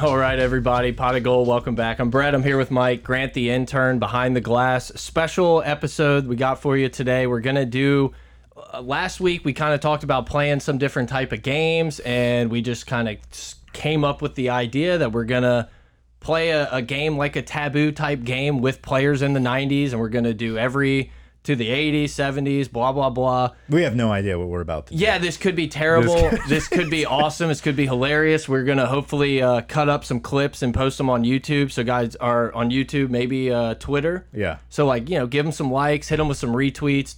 All right, everybody. Pot of Gold, welcome back. I'm Brett. I'm here with Mike Grant, the intern behind the glass. Special episode we got for you today. We're going to do. Uh, last week, we kind of talked about playing some different type of games, and we just kind of came up with the idea that we're going to play a, a game like a taboo type game with players in the 90s, and we're going to do every to the 80s, 70s, blah, blah, blah. We have no idea what we're about to do. Yeah, this could be terrible. This could, be awesome. This could be hilarious. We're gonna hopefully uh, cut up some clips and post them on YouTube. So guys are on YouTube, maybe uh, Twitter. Yeah. So like you know, give them some likes, hit them with some retweets.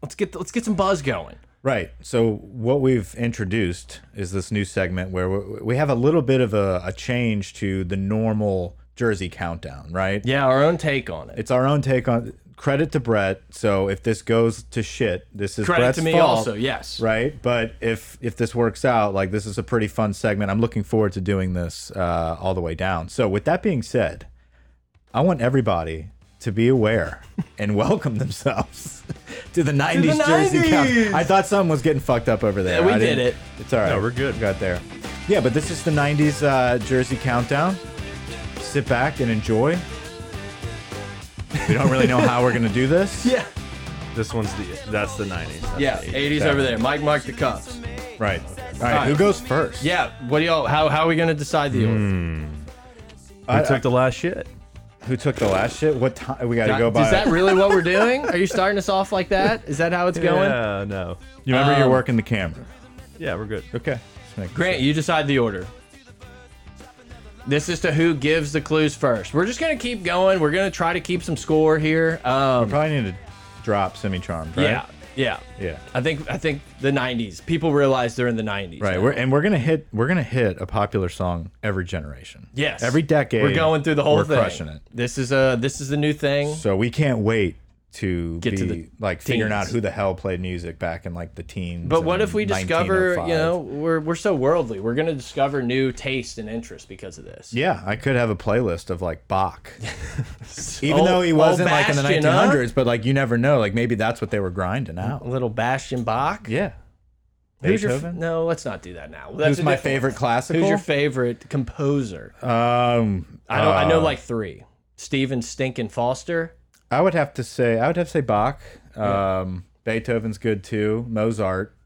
Let's get let's get some buzz going. Right. So what we've introduced is this new segment where we we have a little bit of a, a change to the normal Jersey countdown, right? Yeah, our own take on it. It's our own take on credit to Brett. So if this goes to shit, this is Credit Brett's to me fault, also. Yes. Right. But if if this works out, like this is a pretty fun segment. I'm looking forward to doing this uh, all the way down. So with that being said, I want everybody to be aware and welcome themselves to the 90s, Jersey 90s. Count. I thought something was getting fucked up over there. Yeah, we I did didn't- it. It's all right. we're good. We got there. Yeah, but this is the 90s uh, Jersey Countdown. Sit back and enjoy. We don't really know how we're going to do this. Yeah. This one's the that's the 90s. That's Yeah. the 80s. 80s over there. Mike mark the cups. Right. All right. right. Who goes first? Yeah. What do y'all? How how are we gonna decide Hmm, the order? I- Who took the last shit? Who took the last shit? What time? We got to Uh, go by. Is that really what we're doing? Are you starting us off like that? Is that how it's going? Yeah, no. you remember you're Um, working the camera. Yeah, we're good. Okay. Grant, you decide the order. This is to who gives the clues first. We're just gonna keep going. We're gonna try to keep some score here. Um, Probably need to drop semi charmed, right? yeah, yeah, Yeah. I think I think the '90s. People realize they're in the '90s. Right. We're, and we're gonna hit we're gonna hit a popular song every generation. Yes. Every decade. We're going through the whole we're thing. crushing it. This is a this is the new thing. So we can't wait to Get be to the like figuring out teens. who the hell played music back in like the teens. But what and if we discover, you 1905. know, we're we're so worldly. We're gonna discover new taste and interest because of this. Yeah, I could have a playlist of like Bach. Even Old- though he old wasn't like in the Bastion, huh? 1900s, but like you never know. Like maybe that's what they were grinding A out. little Bastian Bach. Yeah. Who's your f- Beethoven? no, let's not do that now. That's Who's a my different- favorite classical? Who's your favorite composer? um, I know, I know uh, like three. Steven Stinkin' Foster. I would have to say I would have to say Bach. Um, Beethoven's good too. Mozart.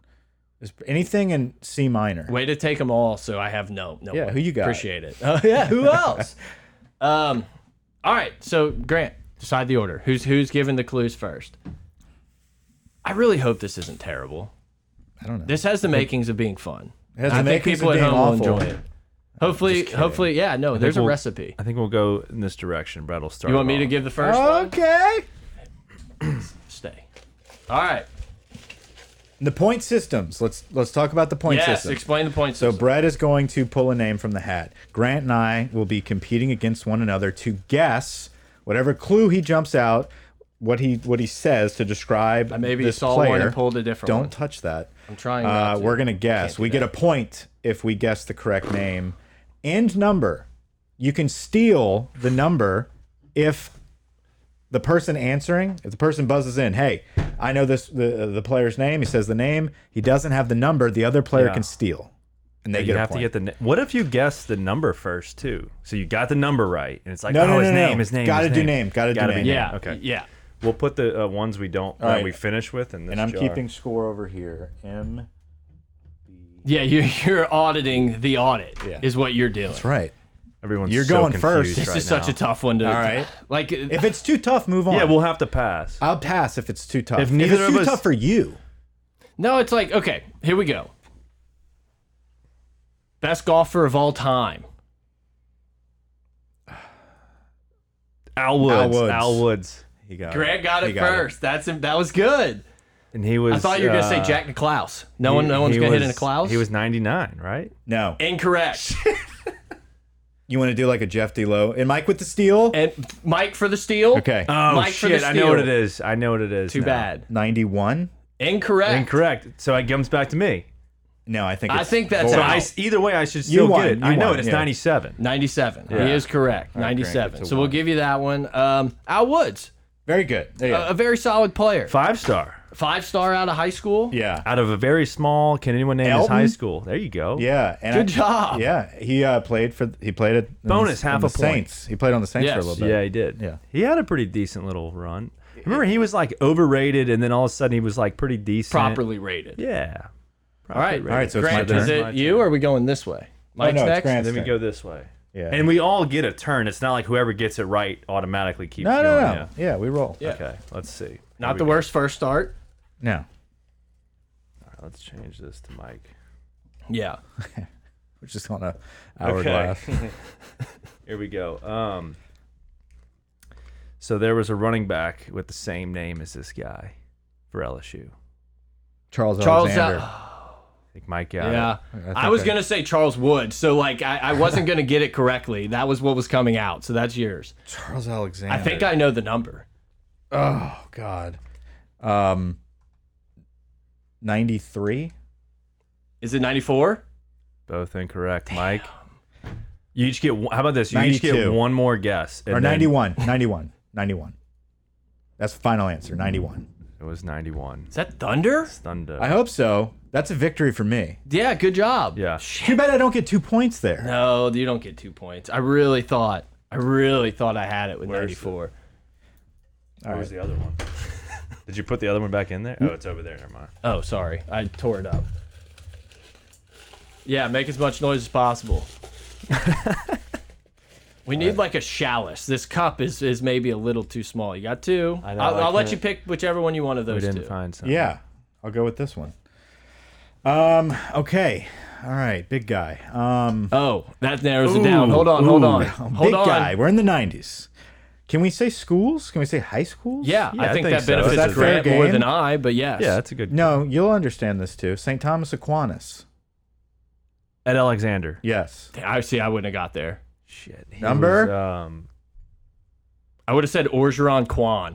Is anything in C minor? Way to take them all. So I have no, no. Yeah, one. who you got? Appreciate it. Oh yeah, who else? um, all right. So Grant, decide the order. Who's who's giving the clues first? I really hope this isn't terrible. I don't know. This has the makings of being fun. It has I the think makings people of at being home will awful. enjoy it. Hopefully, hopefully, yeah. No, there's a we'll- recipe. I think we'll go in this direction. Brett will start. You want me to off. give the first? Uh, one? okay. Stay. All right. The point systems. Let's let's talk about the point Yes. systems. Explain the points. So Brett is going to pull a name from the hat. Grant and I will be competing against one another to guess whatever clue he jumps out, what he what he says to describe. maybe this saw one player. and pulled a different Don't one. touch that. I'm trying not Uh, to. we're gonna guess. We get a point if we guess the correct name and number. You can steal the number if the person answering, if the person buzzes in, hey, I know this the the player's name. He says the name. He doesn't have the number. The other player Yeah. can steal, and they You get have a point. to get the. na- What if you guess the number first too? So you got the number right, and it's like, No, oh, no, his no, no. name, his name. Gotta his do name, gotta do Gotta name. Be Yeah. Okay. Yeah. We'll put the uh, ones we don't that right. we finish with, in this and I'm jar. keeping score over here. M. Yeah, you're, you're auditing the audit Yeah. is what you're doing. That's right. Everyone's You're so going confused first. This right is such now. a tough one to. All right. Like, uh, If it's too tough, move on. yeah, we'll have to pass. I'll pass if it's too tough. If neither it's of too us- tough for you, no, it's like, okay, here we go. Best golfer of all time. Al Woods. Al Woods. Al Woods. he got Grant got He it first. That's that was good. And he was. I thought you were gonna say uh, Jack Nicklaus. No he- one, no one's he gonna hit was- a Nicklaus. He was 99, right? No, incorrect. you want to do like a Jeff Low and Mike with the steal. and Mike for the steal. Okay, Oh Mike for the shit! I know what it steal. is. I know what it is. Too now. bad. ninety-one. Incorrect. Incorrect. So it comes back to me. No, I think I it's think that's four. So Wow. I s either way, I should still won, get it. you I know won, it. It's yeah. 97. 97. Yeah. He is correct. Grant, 97. it's a So we'll one. give you that one. Um, Al Woods, Uh, very good. There you a, a very solid player. Five star. Five star out of high school. Yeah. Out of a very small, can anyone name his high Elton? school? There you go. Yeah. And Good I- job. Yeah. He uh, played for he played it in Bonus, the, half in the a point. Saints. He played on the Saints for a Yes. little bit. Yeah, he did. Yeah. He had a pretty decent little run. Remember, he was like overrated, and then all of a sudden he was like pretty decent. Properly rated. Yeah. All right. rated. All right, so Grant, it's my is turn. it My you or are we going this way? Oh, Mike's no, it's next. Grant's Then we turn. go this way. Yeah. And we all get a turn. It's not like whoever gets it right automatically keeps No, going. no, no. Yeah. Yeah, we roll. Yeah. Okay. Let's see. Here Not we the go. worst first start. No. All right, let's change this to Mike. Yeah. We're just on a hourglass. Here we go. Um. So there was a running back with the same name as this guy for LSU. Charles, Charles. Alexander. Al- I think Mike got yeah. it. think I, was I- gonna say Charles Wood, so like I, I wasn't gonna get it correctly. That was what was coming out, so that's yours. Charles Alexander. I think I know the number. Oh God. Um. Ninety three. Is it ninety four? Both incorrect, Mike. You each get. one- How about this? You each get 92. one more guess. and or then- 91 91 91 that's the final answer 91 It was ninety-one. Is that Thunder? Thunder. i hope so that's a victory for me Yeah, good job. yeah. too bad i don't get two points there No, you don't get two points. I really thought, I really thought I had it with ninety four. Where was the other one? Did you put the other one back in there? Oh, it's over there. Never mind. Oh, sorry, I tore it up. Yeah, make as much noise as possible. we need like a chalice. This cup is is maybe a little too small. You got two. I know, I'll, I I'll let can't- you pick whichever one you want of We those didn't two. find something. yeah i'll go with this one um okay all right big guy um Oh, that narrows it down. Hold on, hold ooh, on, big hold on. guy we're in the 90s can we say schools can we say high schools Yeah, Yeah, I, I think think that so. Is benefits that fair Grant more game? than I, but yes. Yeah, that's a good. no you'll understand this too st thomas aquinas Ed Alexander. yes I see. I wouldn't have got there. Shit. he Number? was, um, I would have said Orgeron Quan.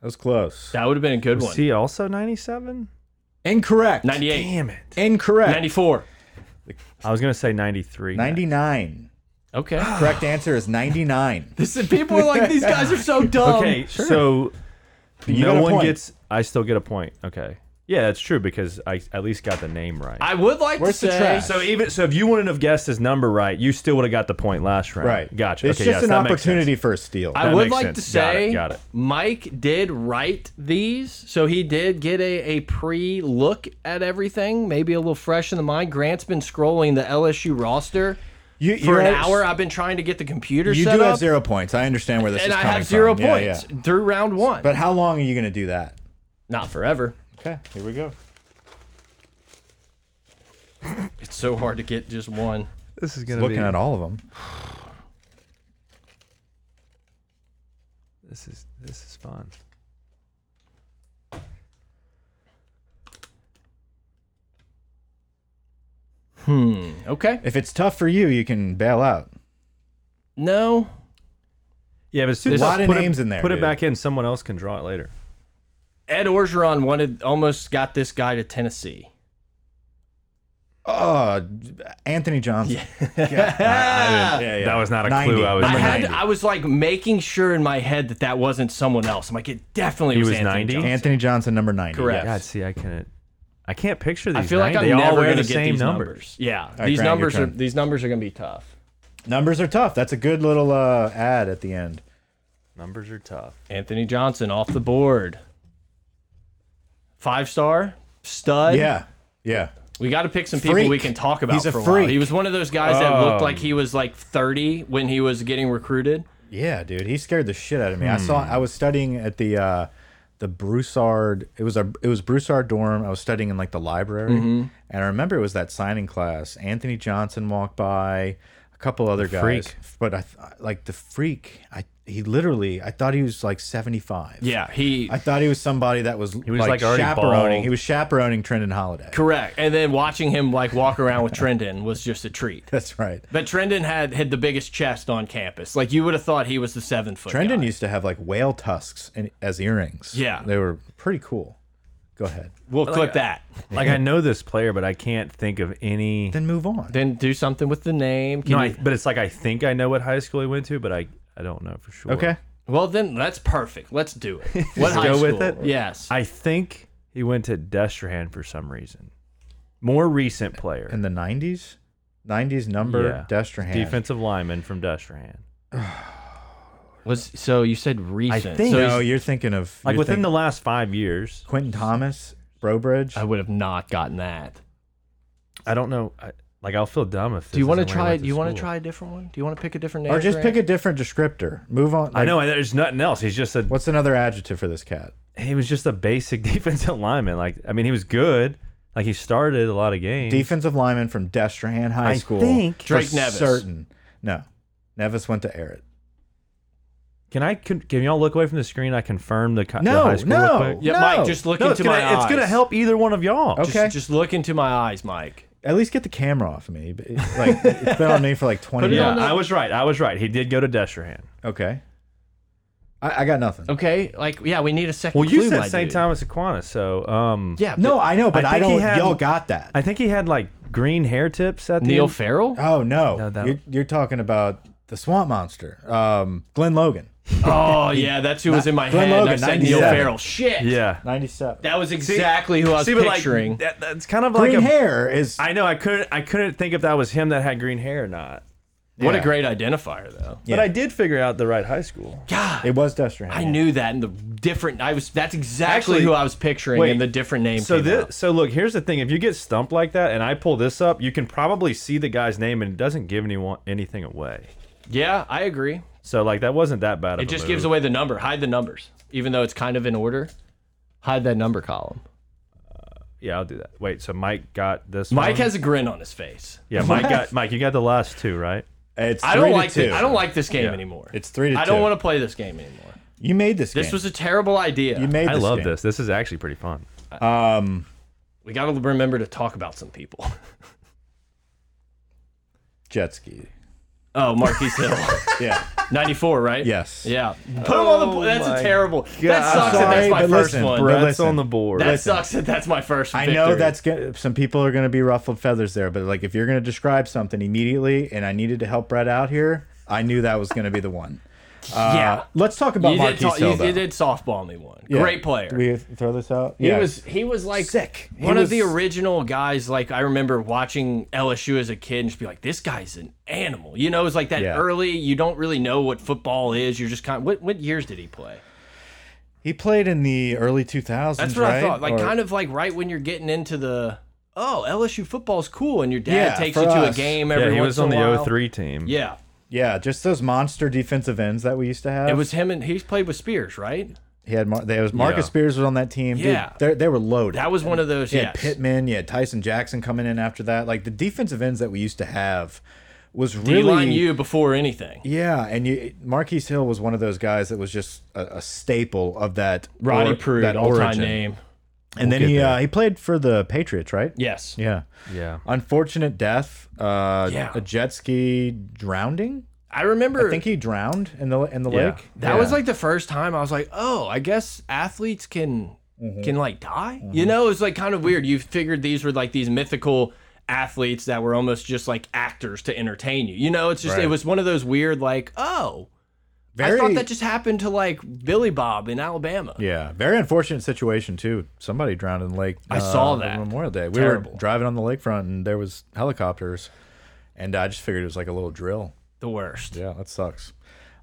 that was close That would have been a good was one. he also ninety-seven? incorrect 98, Damn it. incorrect 94. I was gonna say ninety-three. 99 Okay. Correct answer is 99. this is, people are like, these guys are so dumb. Okay, so You got no a one point. gets. I still get a point. Okay. Yeah, that's true because I at least got the name right. I would like Where's to the say. trash? so even so, if you wouldn't have guessed his number right, you still would have got the point last round. Right. Gotcha. It's okay, just yes, an that makes sense. opportunity for a steal. I That would makes like to sense. Got it, say got it. Mike did write these, so he did get a, a pre look at everything, maybe a little fresh in the mind. Grant's been scrolling the LSU roster you, for you're an right. hour. I've been trying to get the computer You set do up, have zero points. I understand where this and is I coming have zero from. Yeah, points yeah. through round one. But how long are you going to do that? Not forever. Okay, here we go. It's so hard to get just one. This is gonna Looking be. at all of them. This is this is fun. Okay. If it's tough for you, you can bail out. No. Yeah, but as soon There's as a lot of put it- names in there, Put it dude. back in. Someone else can draw it later. Ed Orgeron wanted almost got this guy to Tennessee. Oh, Anthony Johnson. Yeah, yeah. That was not a 90. clue. I was. I Number had 90. I was like making sure in my head that that wasn't someone else. I'm like it definitely He was, was Anthony 90? Johnson. Anthony Johnson, number 90. Correct. God, see, I can't. I can't picture I these. feel like nine- I'm they all never wear going to the get same these numbers. numbers. Yeah, right, these Grant, your numbers are turn. these numbers are going to be tough. Numbers are tough. That's a good little uh, ad at the end. Numbers are tough. Anthony Johnson off the board. Five star stud. Yeah. Yeah. we got to pick some people Freak. we can talk about He's a for a while. freak. He was one of those guys that looked Oh. like he was like 30 when he was getting recruited. Yeah, dude, he scared the shit out of me. I saw. Hmm. I was studying at the uh, the Broussard. It was a. It was Broussard dorm. I was studying in like the library, Mm-hmm. and I remember it was that signing class. Anthony Johnson walked by, a couple other guys, freak. but I th like the freak. I he literally. I thought he was like seventy five. Yeah, he I thought he was somebody that was, was, like, like, already chaperoning. bald. He was chaperoning Trendon Holiday. Correct. And then watching him like walk around with Trendon was just a treat. That's right. Oh But Trendon had had the biggest chest on campus. Like you would have thought he was the seven foot. Trendon guy. used to have like whale tusks in, as earrings. Yeah. they were pretty cool. Go ahead. we'll clip that. Like I know this player, but I can't think of any. Then move on. Then do something with the name. Can No, I, you- but it's like I think I know what high school he went to, but I I don't know for sure. okay. well, then that's perfect. Let's do it. What high go school? with it? Yes. I think he He went to Destrehan for some reason. More recent player. in the 90s 90s number Destrehan. Defensive lineman from Destrehan. Was so you said recent? think- so no he's- you're thinking of Like you're within think- the last five years. Quentin Thomas Brobridge I would have not gotten that. I don't know. I, like I'll feel dumb if. Do you want want to try? Do you want to try a different one? Do you want to pick a different name? or just for pick it? a different descriptor move on I like, know. There's nothing else. He's just a. what's another adjective for this cat He was just a basic defensive lineman. Like I mean, he was good. Like he started a lot of games. defensive lineman from Destrehan High I School think- for Drake Nevis. certain no Nevis went to Errett Can I? Can, can y'all look away from the screen? I confirm the, co- the No, high school no. real quick. Uh, Yeah, No. Mike, just look No, it's into gonna, my eyes. it's gonna help either one of y'all. Okay. Just, just look into my eyes, Mike. at least get the camera off of me but it- like it's been on me for like 20 Put it minutes Yeah, on the- I was right. I was right. He did go to Destrehan. okay I, I got nothing Okay, like yeah, we need a second. Well, you clue, said my St. dude. Thomas Aquinas, so um, Yeah. no but- I know but I, I think he don't had- y'all got that I think he had like green hair tips at the Neil end. Farrell. oh no, No, that- you're, you're talking about the swamp monster um Glenn Logan Oh yeah, that's who was in my Glenn head. I Logan, said Neil 97. Farrell. Shit. yeah, 97 That was exactly who I was See, but like picturing. that, that's kind of green like a, hair is I know I couldn't I couldn't think if that was him that had green hair or not. what a yeah. great identifier, though. Yeah. But I did figure out the right high school. God, it was Destrehan I knew that in the different. I was. That's exactly Actually, who I was picturing wait, in the different name. So came this out. so look, here's the thing. If you get stumped like that and I pull this up, you can probably see the guy's name and it doesn't give anyone anything away. Yeah, I agree. So like that wasn't that bad of It a just move. gives away the number. Hide the numbers, even though it's kind of in order. Hide that number column. Yeah, I'll do that. Wait, so Mike got this Mike one? has a grin on his face. Yeah, Mike got Mike, you got the last two, right? It's I don't three to like. thi- two. I don't like this game Yeah. anymore. It's three to I don't two. want to play this game anymore. You made this. This game. was a terrible idea. You made. I this love game. this. This is actually pretty fun. Um, we got to remember to talk about some people. jet ski. Oh, Marquise Hill, Yeah. ninety-four, right? Yes. Yeah. Oh Put him on the. bo- That's my a terrible. That God. sucks. that Sorry, that's my but first listen, one. bro, Brett's listen. on the board. that sucks. That that's my first. I know victory. that's get, some people are going to be ruffled feathers there, but like if you're going to describe something immediately, and I needed to help Brett out here, I knew that was going to be the one. Uh, yeah. Let's talk about You did, Marquise ta- Hill. you, though. you did softball me one. Yeah. Great player. Do we throw this out? He was he was like Sick. He One of the was- original guys. Like I remember watching LSU as a kid and just be like, this guy's an animal. You know, it's like that Yeah. early. You don't really know what football is. You're just kind. Of, what what years did he play? He played in the early 2000s. That's what I right? thought. Like Or- kind of like right when you're getting into the oh LSU football's cool and your dad Yeah, takes for you to us. a game every Yeah, he once was in on a while. the 03 team. Yeah, Yeah, just those monster defensive ends that we used to have. it was him and he's played with Spears, right? he had. Mar there was Marcus Yeah. Spears was on that team. Yeah. Dude, they they were loaded. That was one of those. You Yeah, had Pittman, you had Tyson Jackson coming in after that. Like the defensive ends that we used to have was really D-line you before anything. Yeah, and you Marquise Hill was one of those guys that was just a, a staple of that Ronnie or- Pruitt, that all-time origin. name. And then get he there. uh, he played for the Patriots, right? Yes. Yeah. Yeah. Unfortunate death. Uh, Yeah. A jet ski drowning. I remember. I think he drowned in the in the Yeah. lake. That Yeah. was like the first time I was like, oh, I guess athletes can can like die. You know, it was like kind of weird. You figured these were like these mythical athletes that were almost just like actors to entertain you. You know, it's just it Right. was one of those weird like, oh, very I thought that just happened to like Billy Bob in Alabama. yeah, very unfortunate situation too. Somebody drowned in the lake. I saw over that. Memorial Day. We Terrible. were driving on the lakefront and there was helicopters, and I just figured it was like a little drill. The worst. Yeah, that sucks.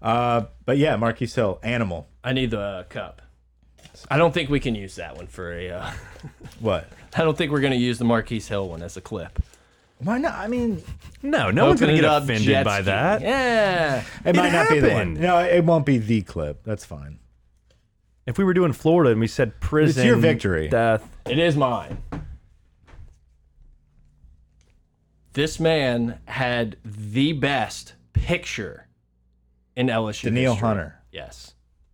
Uh, but yeah, Marquise Hill, animal. I need the uh, cup. I don't think we can use that one for a. Uh, What? I don't think we're gonna use the Marquise Hill one as a clip. Why not? I mean, No, no one's Open gonna it get up, jet offended by ski. that. Yeah. it, might not be the one. happened. No, it won't be the clip. That's fine. If we were doing Florida and we said prison, your victory. death. It is mine. This man had the best picture in LSU. Daniil history. Hunter, Yes.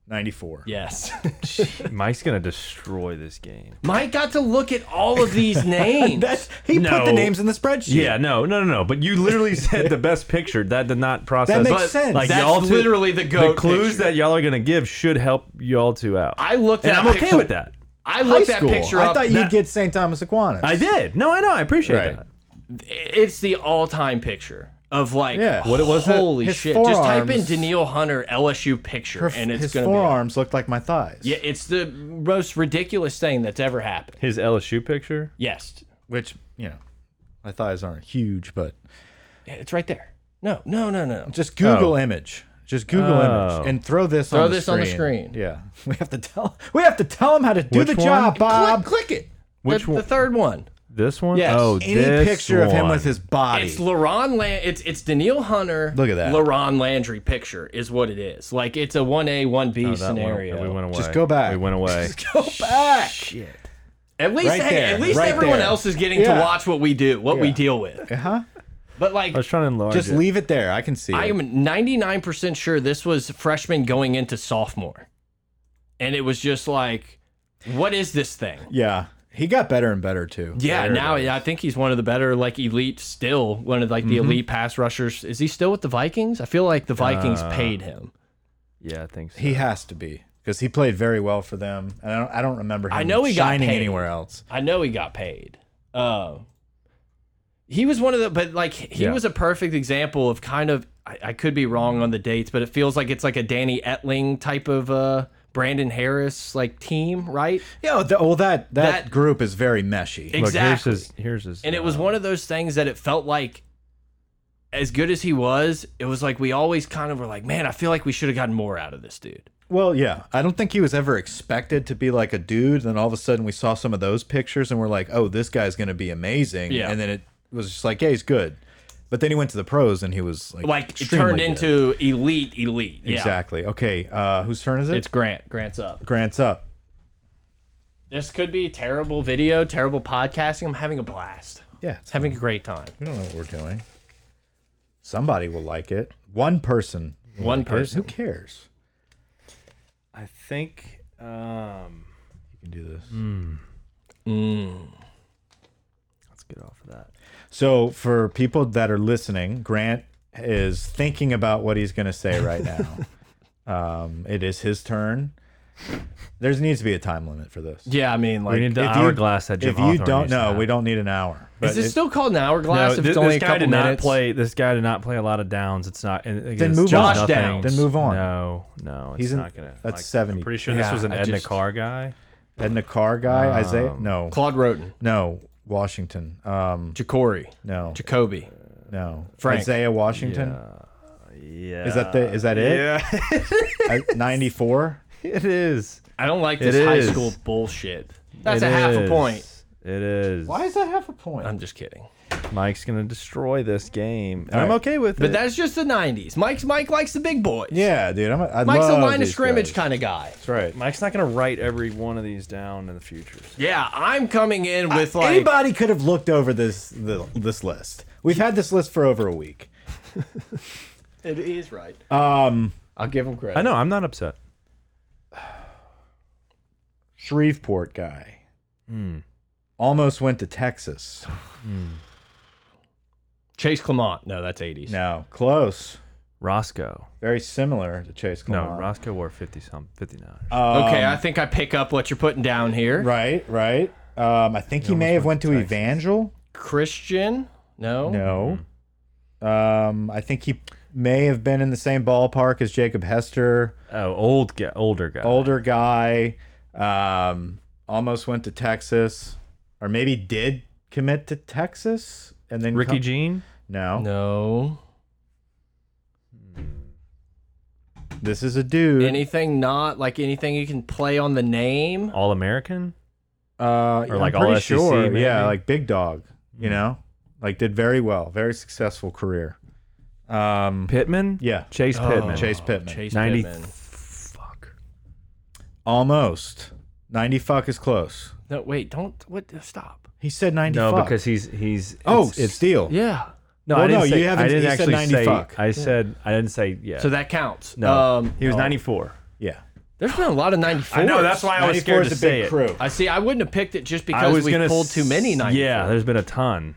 94. Yes. Mike's gonna destroy this game. Mike got to look at all of these names. That's, he put No. the names in the spreadsheet. Yeah, no, no, no, no. But you literally said the best picture. That did not process. That makes But sense. Like Like, that's y'all two- literally the the goat. clues picture. that y'all are gonna give should help y'all two out. I looked and that I'm okay picture- with that. I High looked that school. picture I up. thought you'd That- get St. Thomas Aquinas. I did. No, I know. I appreciate Right. that. it's the all-time picture. of like Yeah. what it was that- holy his shit just type in forearms- Daniil Hunter LSU picture Her, and it's his gonna be forearms looked like my thighs. yeah it's the most ridiculous thing that's ever happened His LSU picture. yes Which, you know, my thighs aren't huge, but it's right there no no no no just Google Oh. image. Just Google Oh. image and throw this Throw on the this screen. on the screen. Yeah. We have to tell we have to tell them how to do Which the one? job, Bob. click, click it Which the, one? the third one This one? Yes. Oh, Any this picture of him one. with his body. It's LaRon Land. It's it's Daniil Hunter. Look at that. LaRon Landry picture is what it is. Like it's a one A one Oh, B That one- scenario. we went away. Just go back. We went away. Go back. at least Right hey, there, at least right everyone there. else is getting to Yeah. watch what we do, what we Yeah. Oh, deal with. Uh Uh-huh. huh. But like I was trying to enlarge Just it. leave it there. I can see. I it. am ninety nine percent sure this was freshman going into sophomore, and it was just like, what is this thing? Yeah. He got better and better too. Yeah, There it now is. I think he's one of the better, like elite, still one of like the elite pass rushers. Is he still with the Vikings? I feel like the Vikings paid him. Yeah, I think so. he has to be because he played very well for them. And I don't, I don't remember him I know he got shining paid. anywhere else. I know he got paid. Um, he was one of the, but like he Yeah. was a perfect example of kind of. I, I could be wrong on the dates, but it feels like it's like a Danny Etling type of uh, Brandon Harris like team, right? Yeah. The, well, that, that That- group is very meshy. Look, exactly. here's his. Here's his. and it was uh, one of those things that it felt like, as good as he was, it was like we always kind of were like, man, I feel like we should have gotten more out of this dude. Well, yeah. I don't think he was ever expected to be like a dude. Then all of a sudden we saw some of those pictures and we're like, oh, this guy's going to be amazing. Yeah. And then it was just like, yeah, he's good. But then he went to the pros and he was like, Like it extremely turned good. into elite, elite. Yeah. Exactly. Okay. Uh, whose turn is it? It's Grant. Grant's up. Grant's up. This could be terrible video, terrible podcasting. I'm having a blast. Yeah. It's, having a great time. we don't know what we're doing. Somebody will like it. One person. will One like it. person. Who cares? I think. Um, You can do this. let's get off of that. So, for people that are listening, Grant is thinking about what he's going to say right now. um, it is his turn. There needs to be a time limit for this. Yeah, I mean, like, We need the if you- hourglass that Jim if you Hawthorne don't used to know, have. we don't need an hour. is But this it- still called an hourglass? No, if it's thi- this, only a guy couple did not minutes. play. This guy did not play a lot of downs. It's not. Then move on. Josh Downs. Then move on. No, no, it's He's in- not gonna. that's like, 70. I'm pretty sure Yeah, this was an I Edna just- Carr guy. and the car guy, Um, Isaiah? No, Claude Roten, no, Washington. Um, Jacory, no, Jacoby. no, Frank. Isaiah Washington. Yeah. Is that the? Is that it? Yeah, Ninety four. it is. I don't like It this high is. school bullshit. That's It a half a is. point. It is. Why is that half a point? I'm just kidding. Mike's gonna destroy this game. And All I'm right. okay with But it. that's just the 90s. Mike's Mike likes the big boys. yeah, dude. I'm. A, I Mike's a love line of these scrimmage guys. kind of guy. That's right. Mike's not gonna write every one of these down in the future. Yeah, I'm coming in with like anybody could have looked over this the, this list. We've had this list for over a week. it is right. Um, I'll give him credit. I know. I'm not upset. Shreveport guy almost went to Texas. Chase Clement. No, that's 80s. No, close. Roscoe. Very similar to Chase No, Clement. Roscoe wore 50 some 59. Okay, Um, I think I pick up what you're putting down here. right, right. Um, I think he may have went to Evangel. Christian? No. No. Um, I think he may have been in the same ballpark as Jacob Hester, oh, old guy, older guy. older guy. Um, almost went to Texas, or maybe did commit to Texas, and then Ricky come- Jean. No, No. this is a dude. Anything not like anything you can play on the name? All American? Uh, Or like I'm pretty all SEC, sure. maybe? Mm-hmm. Yeah, like Big Dog. You know, like did very well, very successful career. Um, Pittman? Yeah. Oh. Chase Pittman. Chase Pittman. Chase 90. Pittman. Fuck. almost ninety. Fuck is close. No, wait, don't what stop. He said ninety. No, fuck. because he's he's oh, it's, it's steal. Yeah. no, Well, I didn't no, say, you haven't- I didn't you said actually 90 say fuck. I said I didn't say yeah. So that counts. no. Um he was 94. Yeah. there's been a lot of 94. I know, that's why I was 94 scared is to a big say it. crew. I see I wouldn't have picked it just I because was we gonna pulled too many s- 94. Yeah, there's been a ton.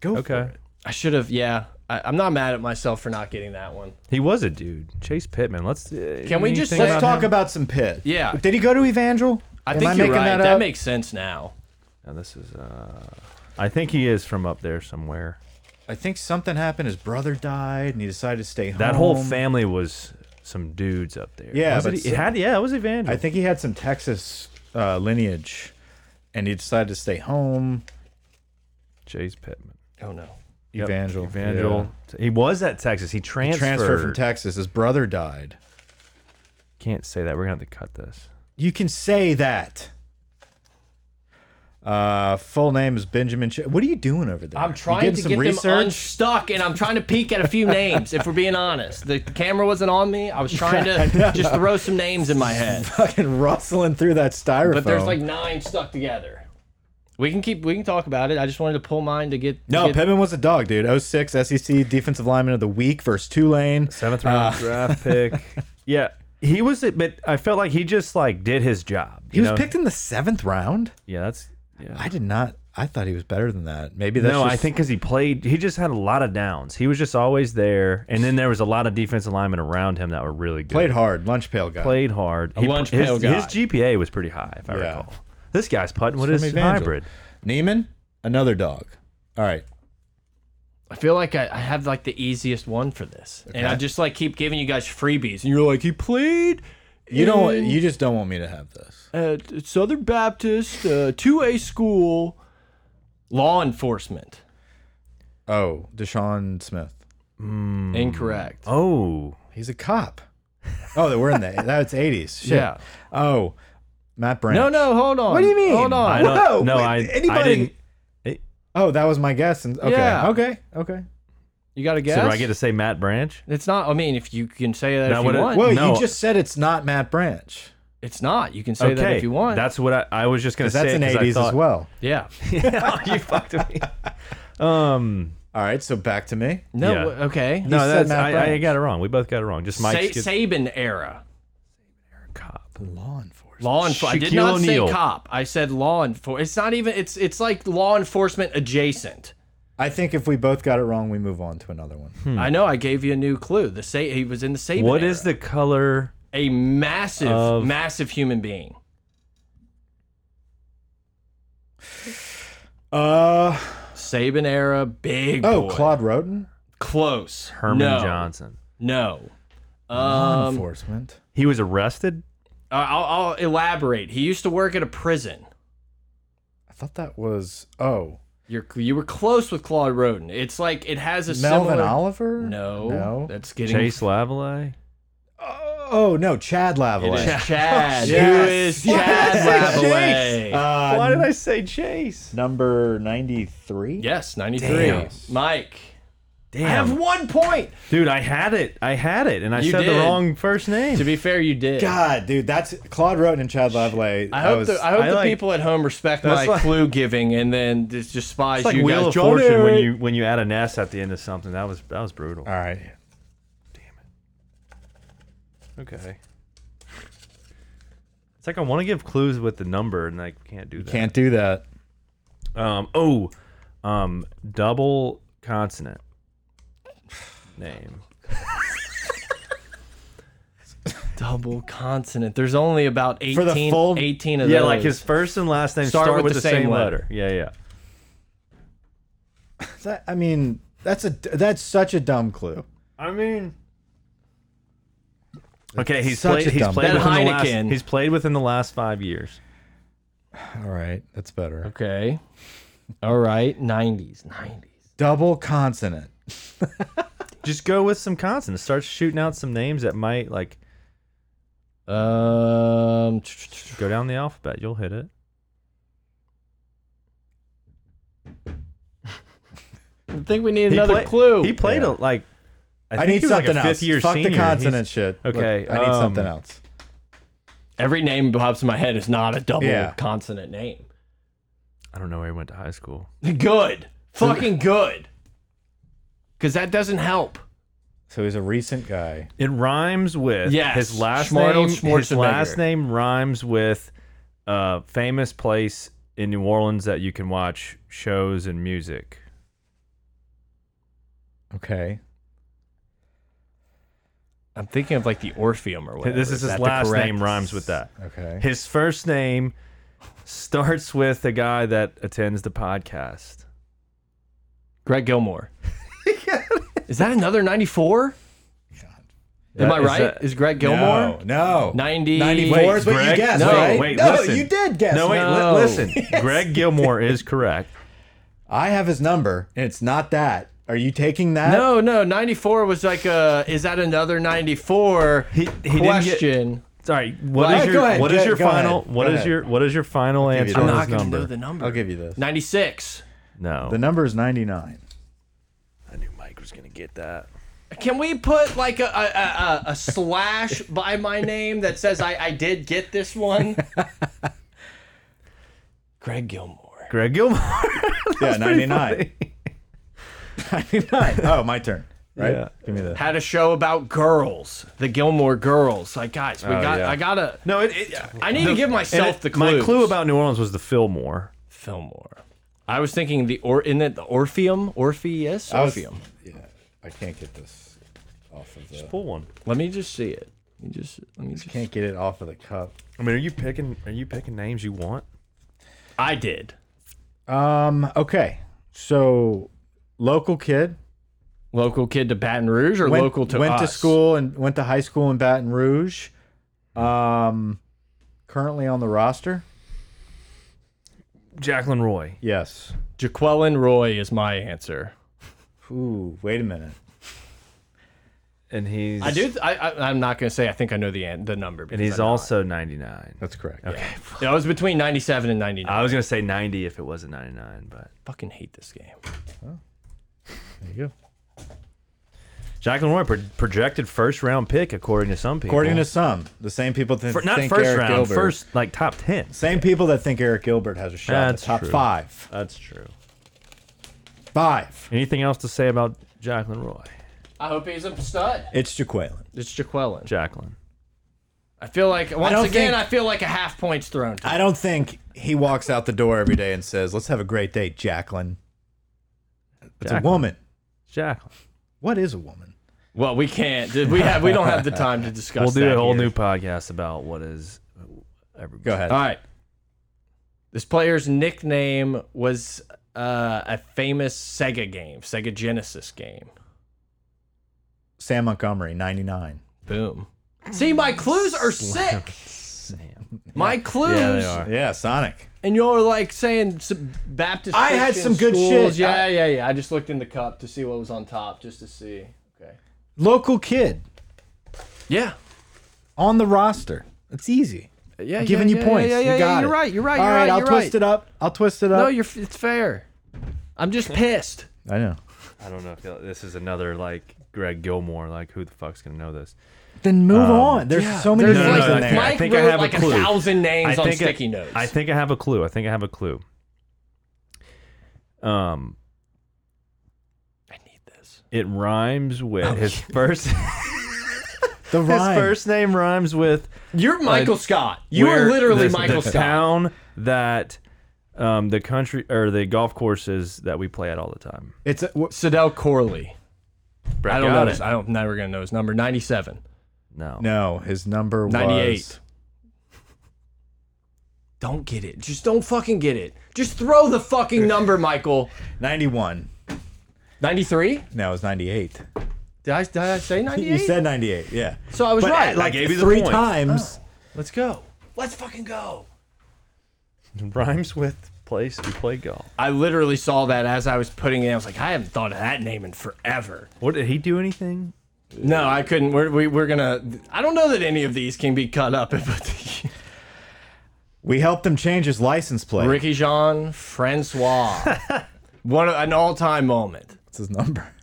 Go Okay. I should have yeah. I, I'm not mad at myself for not getting that one. He was a dude. Chase Pittman. Let's uh, Can we just- anything Let's Let's about talk him? about some Pitt. Yeah. Did he go to Evangel? I Am think I you're making right. that that up? makes sense now. Now, this is uh I think he is from up there somewhere. I think something happened. His brother died, and he decided to stay home. That whole family was some dudes up there. Um, Yeah, Was but it, so- it had yeah, it was Evangel. I think he had some Texas uh, lineage, and he decided to stay home. Chase Pittman. Oh no. Yep, Evangel, Evangel. He was at Texas. He yeah. transferred. transferred from Texas. His brother died. Can't say that. We're gonna have to cut this. You can say that. Uh, full name is Benjamin. Ch what are you doing over there? I'm You trying getting to some get them research? unstuck, and I'm trying to peek at a few names. If we're being honest, the camera wasn't on me. I was trying to just throw some names in my head, fucking rustling through that styrofoam. but there's like nine stuck together. We can keep. We can talk about it. I just wanted to pull mine to get. no. get, Pittman was a dog, dude. 06 SEC E defensive lineman of the week versus Tulane. Seventh Uh, round draft pick. Yeah, he was. But I felt like he just like did his job. He you was know? picked in the seventh round. Yeah, that's. Yeah. I did not. I thought he was better than that. Maybe that's No, I just- think because he played, he just had a lot of downs. He was just always there, and then there was a lot of defensive linemen around him that were really good. played hard. Lunch pail guy. played hard. He, lunch his, pail guy. his GPA was pretty high, if I Yeah. recall. This guy's putting with From his Evangel. hybrid. Neiman, another dog. All right. I feel like I, I have like the easiest one for this, and I just like keep giving you guys freebies, and you're like, he played. You don't. want- in- You just don't want me to have this. at Southern Baptist, uh, 2A school, law enforcement. Oh, Deshaun Smith. Hmm. Incorrect. Oh, He's a cop. Oh, they were in the that's eighties. Shit. Yeah. Oh, Matt Branch. No, no, hold on. What do you mean? Hold on. I don't. Whoa, no, wait, I. I anybody- didn't, Oh, that was my guess. And okay, Yeah. okay, okay. You got to guess. So do I get to say Matt Branch? It's not. I mean, if you can say that Now if what you it- want, Well, No. you just said it's not Matt Branch. it's not. You can say that if you want. That's what I, I was just gonna 'Cause say. That's an 'cause I eighties as thought- oh, well. yeah. you fucked me. Um, All right, so back to me. No. Yeah. Okay. no, said that's Matt I, I Branch. got it wrong. We both got it wrong. Just Mike. Sa Saban era. cop. Law enforcement. Law enforcement. I did Shaquille not say O'Neal. cop. I said law enforcement. It's not even. It's it's like law enforcement adjacent. I think if we both got it wrong, we move on to another one. Hmm. I know. I gave you a new clue. The say he was in the Saban. What era. is the color? a massive, Of- massive human being? Uh Saban era, big. oh, boy. Claude Roden. close. Herman no. Johnson. No. Law Um, enforcement. He was arrested. I'll, I'll elaborate. He used to work at a prison. I thought that was oh You're you were close with Claude Roden. It's like it has a Melvin similar. Oliver. No, no. that's getting Chase Lavallee. Oh no, Chad It is Lavallee. Chad. Yes. Who is Yes. Chad Chase. Lavallee? Uh, Why did I say Chase? number ninety three? yes, ninety three. Damn. Mike, Damn. I have one point. Dude, I had it. I had it, and I You said did. the wrong first To name. be fair, you did. God, dude, that's Claude Roten and Chad Lavallee. I hope was, the, I hope I the like- people at home respect That's my like- clue giving and then just despise It's like you Wheel guys. of John Fortune when Eric. you when you add an S at the end of something. That was that was brutal. all right. Okay. It's like I want to give clues with the number, and I can't do that. Can't do that. Um. Oh. Um. Double consonant. Name. double consonant. There's only about 18, the full- 18 of Yeah, those. like his first and last name Start start, with with, the the, same same, letter. letter. Yeah, yeah. That- I mean, that's a that's such a dumb clue. I mean. Okay, he's Such played. a He's dumb played That within the last. Heineken. He's played within the last five years. All right, that's better. Okay. All right. 90s. 90s. Double consonant. Just go with some consonants. Start shooting out some names that might like Um, go down the alphabet. You'll hit it. I think we need He another play- clue. He played Yeah. a, like. I, I, think need he was, like, a something else. Fifth year Fuck senior. the He's- consonant shit. Look, Okay, I need um, something else. Every name pops in my head is not a double Yeah. consonant name. I don't know where he went to high school. Good. Fucking good. Because that doesn't help. So he's a recent guy. It rhymes with Yes, his last Schmartle name. His Schwarzenegger. last name rhymes with a famous place in New Orleans that you can watch shows and music. Okay. I'm thinking of like the Orpheum or whatever. this is his that the last correct- name rhymes with that. Okay. His first name starts with the guy that attends the podcast. Greg Gilmore. Is that another 94? Am I Is right? that- Is Greg Gilmore? No, no. 90 94 is what you Greg- guessed, no, right? wait, no, listen. you did guess. No, wait, li- No. listen. Greg Gilmore is correct. I have his number, and it's not that. Are you taking that? No, no, 94 was like a is that another 94 He- he didn't get- question. Sorry. What Well, is go your ahead, What is go- your go ahead, final go What is ahead. your What is your final give you answer that. I'm on not his going to know number? the number. I'll give you this. 96. No. The number is 99. I knew Mike was gonna get that. Can we put like a a, a, a slash by my name that says I, I did get this one? Greg Gilmore. Greg Gilmore. yeah, pretty 99. 99. Oh, my turn. Right? Yeah. Give me that. Had a show about girls, the Gilmore girls. Like guys, we got yeah. I gotta No, it, it, I need to give myself and the it- My clues. clue about New Orleans was the Fillmore. Fillmore. I was thinking the or in it the Orpheum, Orpheus, I was- Orpheum. Yeah, I can't get this off of the. Pull one. Let me just see it. Let me just let me just. Can't get it off of the cup. I mean, are you picking? Are you picking names you want? I did. Um. Okay. So, local kid Local kid to Baton Rouge or went, local to went to us? school and went to high school in Baton Rouge. Um, currently on the roster. Jacqueline Roy. Yes. Jaquelin Roy is my answer. Ooh. Wait a minute. And he's. I do. I, I I'm not gonna say. I think I know the an- the number. And because he's I know also 99. That's correct. Okay. it. Yeah, it was between 97 and 99. I I was gonna say 90 if it wasn't 99, but fucking hate this game. There you go. Jacqueline Roy pro projected first round pick according to some people. According to some, the same people that For- not think first Eric round, Gilbert. first like top 10. Same people that think Eric Gilbert has a shot at That's the top true. five. That's true. Five. Anything else to say about Jacqueline Roy? I hope he's a stud. It's Jaqueline. It's Jaquelin. Jacqueline. I feel like once don't again. think- I feel like a half points thrown. To I don't think he walks out the door every day and says, "Let's have a great day, Jacqueline." It's Jacqueline. a woman. Jacqueline. What is a woman? well, we can't. Did we have? We don't have the time to discuss. We'll do that a whole here. new podcast about what is everybody. Go ahead. All right. This player's nickname was uh, a famous Sega game, Sega Genesis game. Sam Montgomery, 99. Boom. See, my clues are sick. Sam. My clues. Yeah, they are. Yeah, Sonic. and you're like saying some Baptist. I had Christian some good schools. shit. Yeah, I- yeah, yeah. I just looked in the cup to see what was on top, just to see. Okay. Local kid Yeah. on the roster. It's easy. Yeah. I'm giving yeah, you yeah, points. Yeah, yeah, you yeah, got You're it. right. You're right. All you're right. I'll you're twist right. it up. I'll twist it No, up. you're. f- It's fair. I'm just pissed. I know. I don't know if y'all- this is another like Greg Gilmore. Like who the fuck's gonna know this? Then move on. There's so many Um, There's names like in there. Mike I think I wrote have a like a, clue. thousand names on I- sticky notes. I think I have a clue. I think I have a clue. Um, I need this. it rhymes with his first. the his rhyme. first name rhymes with You're Michael Scott. You are where literally the, Michael the Scott. town that um, the country or the golf courses that we play at all the time. It's a, wh- Sidell Corley. Brett I don't got know it. this. I don't. Never gonna know his number. Ninety-seven. No. no. His number 98. was Don't get it. Just don't fucking get it. Just throw the fucking number, Michael. 91. 93? No, it was 98. Did I, did I say You 98? said 98. Yeah. so I was But right. at, Like, like gave you the three point. times. let's go. Let's fucking go. Rhymes with place we play golf. I literally saw that as I was putting it. I was like, I haven't thought of that name in forever. What did he do anything? No, I couldn't. We're, we, we're gonna. I don't know that any of these can be cut up. But We helped him change his license plate. Ricky Jean Francois, one of- an all-time moment. That's his number.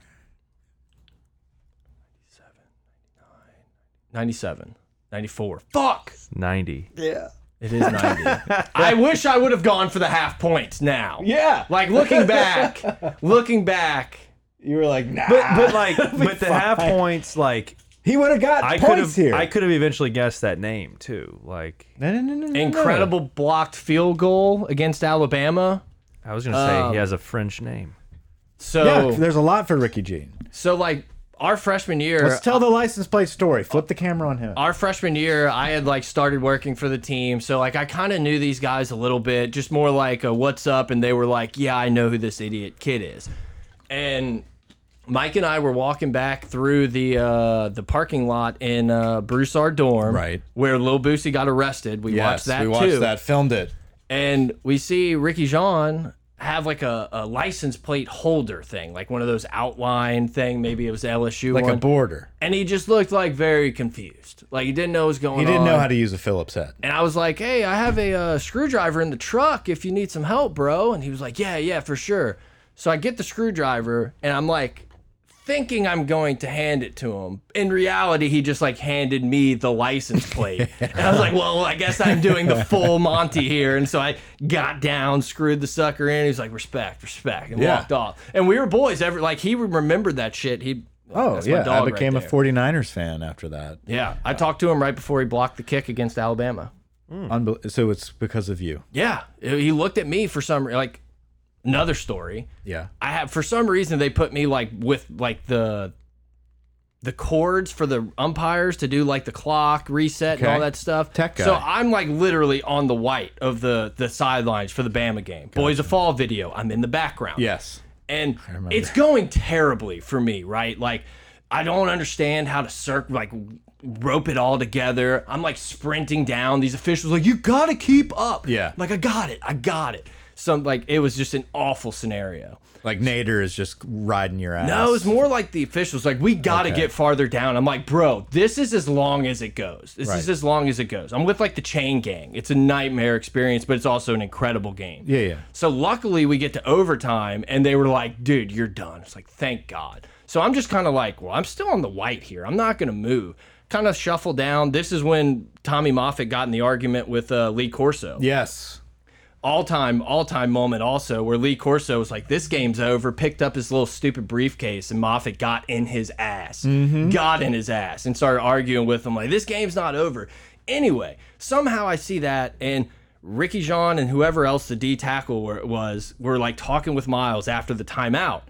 97, 94. Fuck. 90. It is 90. I wish I would have gone for the half points now. Yeah. Like looking back, looking back. You were like, nah. But but like with the half points like he would have got I could points have here. I could have eventually guessed that name too. Like no, no, no, no, no, no. Incredible blocked field goal against Alabama. I was gonna say he has a French name. So Yeah, there's a lot for Ricky Jean. so like our freshman year Let's tell the license plate story. Flip the camera on him. our freshman year, I had like started working for the team, so like I kind of knew these guys a little bit, just more like a what's up, and they were like, yeah, I know who this idiot kid is, and Mike and I were walking back through the uh, the parking lot in uh, Broussard dorm, Right. where Lil Boosie got arrested. We watched that we watched too, that, filmed it. and we see Ricky Jean have like a, a license plate holder thing, like one of those outline thing. Maybe it was LSU, Like a one. border. and he just looked like very confused, like he didn't know what was going on. He didn't know how to use a Phillips head. And I was like, "Hey, I have a uh, screwdriver in the truck if you need some help, bro." And he was like, "Yeah, yeah, for sure." So I get the screwdriver and I'm like thinking I'm going to hand it to him. In reality, he just like handed me the license plate. and I was like, "Well, I guess I'm doing the full Monty here." And so I got down, screwed the sucker in. He was like, "Respect, respect." And Yeah. walked off. And we were boys ever like he remembered that shit. He Oh that's my yeah, I dog right became a there. 49ers fan after that. Yeah, I talked to him right before he blocked the kick against Alabama. Hmm. Unbel so it's because of you. Yeah, he looked at me for some like another story. Yeah. I have for some reason they put me like with like the the cords for the umpires to do like the clock reset and all Okay. that stuff. Tech guy. So I'm like literally on the white of the the sidelines for the Bama game. Boys of Fall video. I'm in the background Yes. and it's going terribly for me, right? Like I don't understand how to circ like rope it all together. I'm like sprinting down. These officials like, you gotta keep up. Yeah. Like I got it. I got it. Some like it was just an awful scenario. Like Nader is just riding your ass. No, it's more like the officials like, we gotta get farther down. I'm like, bro, this is as long as it goes. This is Right. as long as it goes. I'm with like the chain gang. It's a nightmare experience, but it's also an incredible game. Yeah, yeah. So luckily we get to overtime and they were like, dude, you're done. It's like, thank God. So I'm just kind of like, well, I'm still on the white here. I'm not going to move. Kind of shuffle down. This is when Tommy Moffat got in the argument with uh, Lee Corso. Yes. All time, all time moment also where Lee Corso was like, this game's over, picked up his little stupid briefcase and Moffat got in his ass. Got in his ass and started arguing with him like, this game's not over. Anyway, somehow I see that and Ricky Jean and whoever else the D tackle were, was were like talking with Miles after the timeout.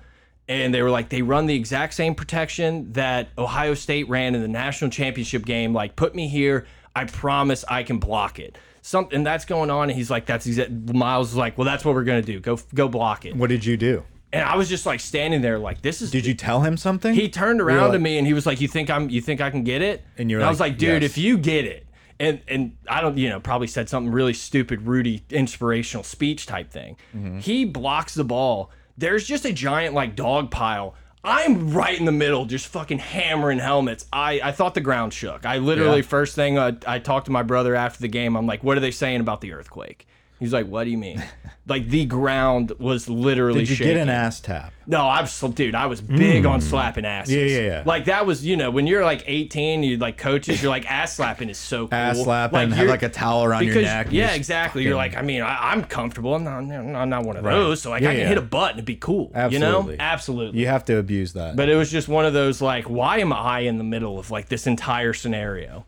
And they were like, they run the exact same protection that Ohio State ran in the national championship game. Like, put me here. I promise I can block it. Something that's going on. And he's like, that's exact. Miles is like, well, that's what we're going to do. Go, go block it. What did you do? And I was just like standing there, like, this is Did you tell him something? he turned around Really? to me and he was like, "You think I'm? You think I can get it?" And you were I was like, like, "Dude, "Yes." if you get it." And, and I don't, you know, probably said something really stupid, Rudy inspirational speech type thing. Mm-hmm. He blocks the ball. There's just a giant like dog pile. I'm right in the middle, just fucking hammering helmets. I, I thought the ground shook. I literally first thing I, I talked to my brother after the game. I'm like, "What are they saying about the earthquake?" He's like, "What do you mean?" like the ground was literally. Did you shaking. get an ass tap? No, I'm sl- dude. I was big on slapping asses. Hmm. Yeah, yeah, yeah. Like that was, you know, when you're like 18, you like coaches, you're like ass slapping is so cool. Ass slapping, have you're- like a towel around your because- neck. and Yeah, just- exactly. You're like, I mean, I, I'm comfortable. I'm not, I'm not one of Right. those. So like, Yeah, I can yeah. hit a button and be cool. You know, Absolutely. absolutely. You have to abuse that. But it was just one of those like, why am I in the middle of like this entire scenario?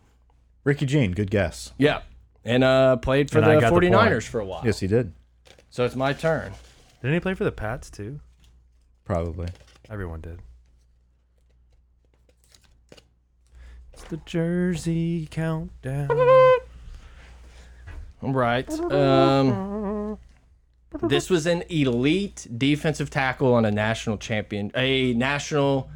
Ricky Jean, good guess. Yeah, and uh, played for And I the got the 49ers point. for a while. Yes, he did. So it's my turn. Didn't he play for the Pats too? Probably. Everyone did. It's the Jersey countdown. All right. Um, this was an elite defensive tackle on a national champion, a national,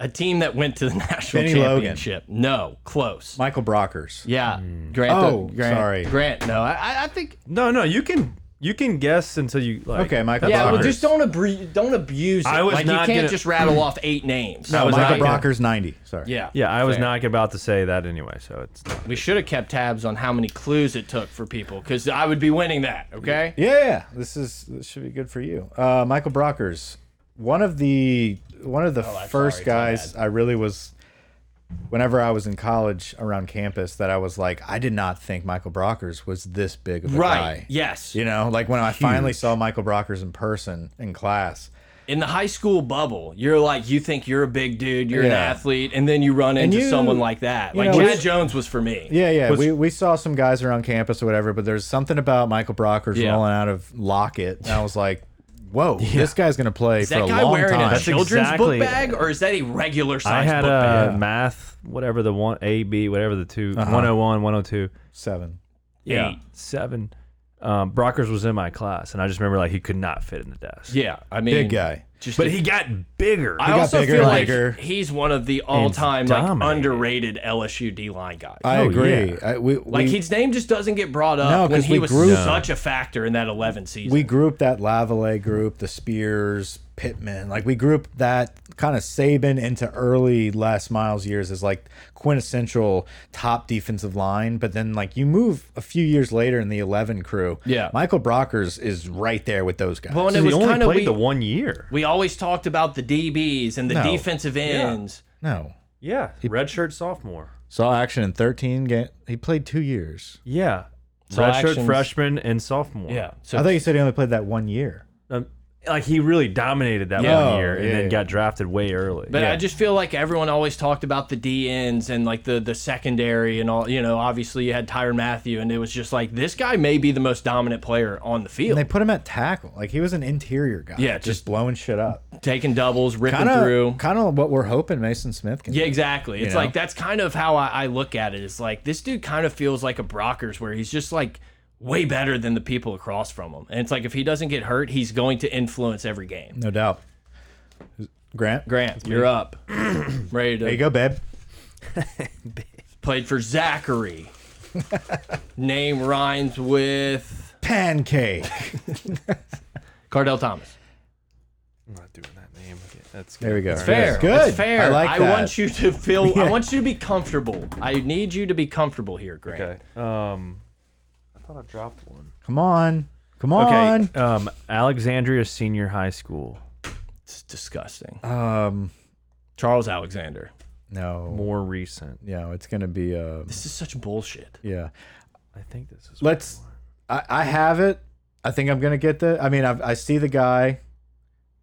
a team that went to the national Benny Logan. championship. No, close. Michael Brockers. yeah, Grant. Oh, Grant, sorry. Grant. No, I- I, I think. No, no, you can you can guess until you like. Okay, Michael Yeah, Brockers. well, just don't abru- don't abuse. It. I was like not you can't gonna- just rattle off eight names. I was Uh, Michael not gonna- Brockers 90. Sorry. Yeah, Yeah, I was Fair. not about to say that anyway, so it's not. We should have kept tabs on how many clues it took for people, because I would be winning that. Okay. Yeah, yeah. This is this should be good for you. Uh, Michael Brockers, one of the one of the Oh, first guys I really was whenever I was in college around campus that I was like, I did not think Michael Brockers was this big of a Right. guy. Yes. You know, like when I finally saw Michael Brockers in person in class. in the high school bubble, you're like you think you're a big dude, you're an Yeah. athlete, and then you run into you- someone like that. Like know, Chad it's- Jones was for me. Yeah, yeah. we, we saw some guys around campus or whatever, but there's something about Michael Brockers Yeah. rolling out of Lockett. And I was like, whoa, this guy's going to play Is for a that guy long wearing time. a children's exactly- book bag or is that a regular I size had book a bag? math, whatever the one, A, B, whatever the two, 101, 102, Seven. Yeah. eight, seven. Um, Brockers was in my class, and I just remember like he could not fit in the desk. Yeah, I mean, Big guy. Just But a- he got bigger. I got also bigger feel and like bigger. he's one of the all-time like dominated. underrated LSU D line guys. I Oh, agree. yeah. I, we, like we, his name just doesn't get brought No, up when 'cause he we was grew- such a factor in that 11 season. we grouped that Lavallee group, the Spears, Pittman. Like we grouped that kind of Saban into early Les Miles years as like quintessential top defensive line. But then like you move a few years later in the eleven crew. Yeah. Michael Brockers is right there with those guys. well, and it he was only kind of played the we, one year. we always talked about the DBs and the No. defensive ends. no. Yeah, redshirt sophomore. Saw action in thirteen game he played two years. Yeah, So redshirt actions- freshman and sophomore. Yeah. So I thought you said he only played that one year. Um, like he really dominated that Yeah. one year, Oh, and yeah, then yeah. got drafted way early. But yeah. I just feel like everyone always talked about the D ends and like the the secondary and all. You know, obviously you had Tyron Matthew, and it was just like this guy may be the most dominant player on the field, And they put him at tackle. Like he was an interior guy. Yeah, just, just- blowing shit up. taking doubles, ripping Kind through. of, kind of what we're hoping Mason Smith can. do. Yeah, exactly. It's know? like that's kind of how I, I look at it. It's like this dude kind of feels like a Brockers, where he's just like way better than the people across from him. And it's like if he doesn't get hurt, he's going to influence every game. no doubt. Grant, Grant, you're up. Ready There you to go, babe. played for Zachary. Name rhymes with Pancake. Cardell Thomas. I'm not doing that name. again. That's There we go. It's Fair. That's good. It's fair. I like that. want you to feel. I Yeah. want you to be comfortable. I need you to be comfortable here, Grant. Okay. Um, I thought I dropped one. Come on. Come on. Okay. Um, Alexandria Senior High School. It's disgusting. Um, Charles Alexander. no. More recent. Yeah, it's gonna be. Uh, This is such bullshit. yeah. I think this is. Let's. I, I have it. I think I'm gonna get the. I mean, I've, I see the guy.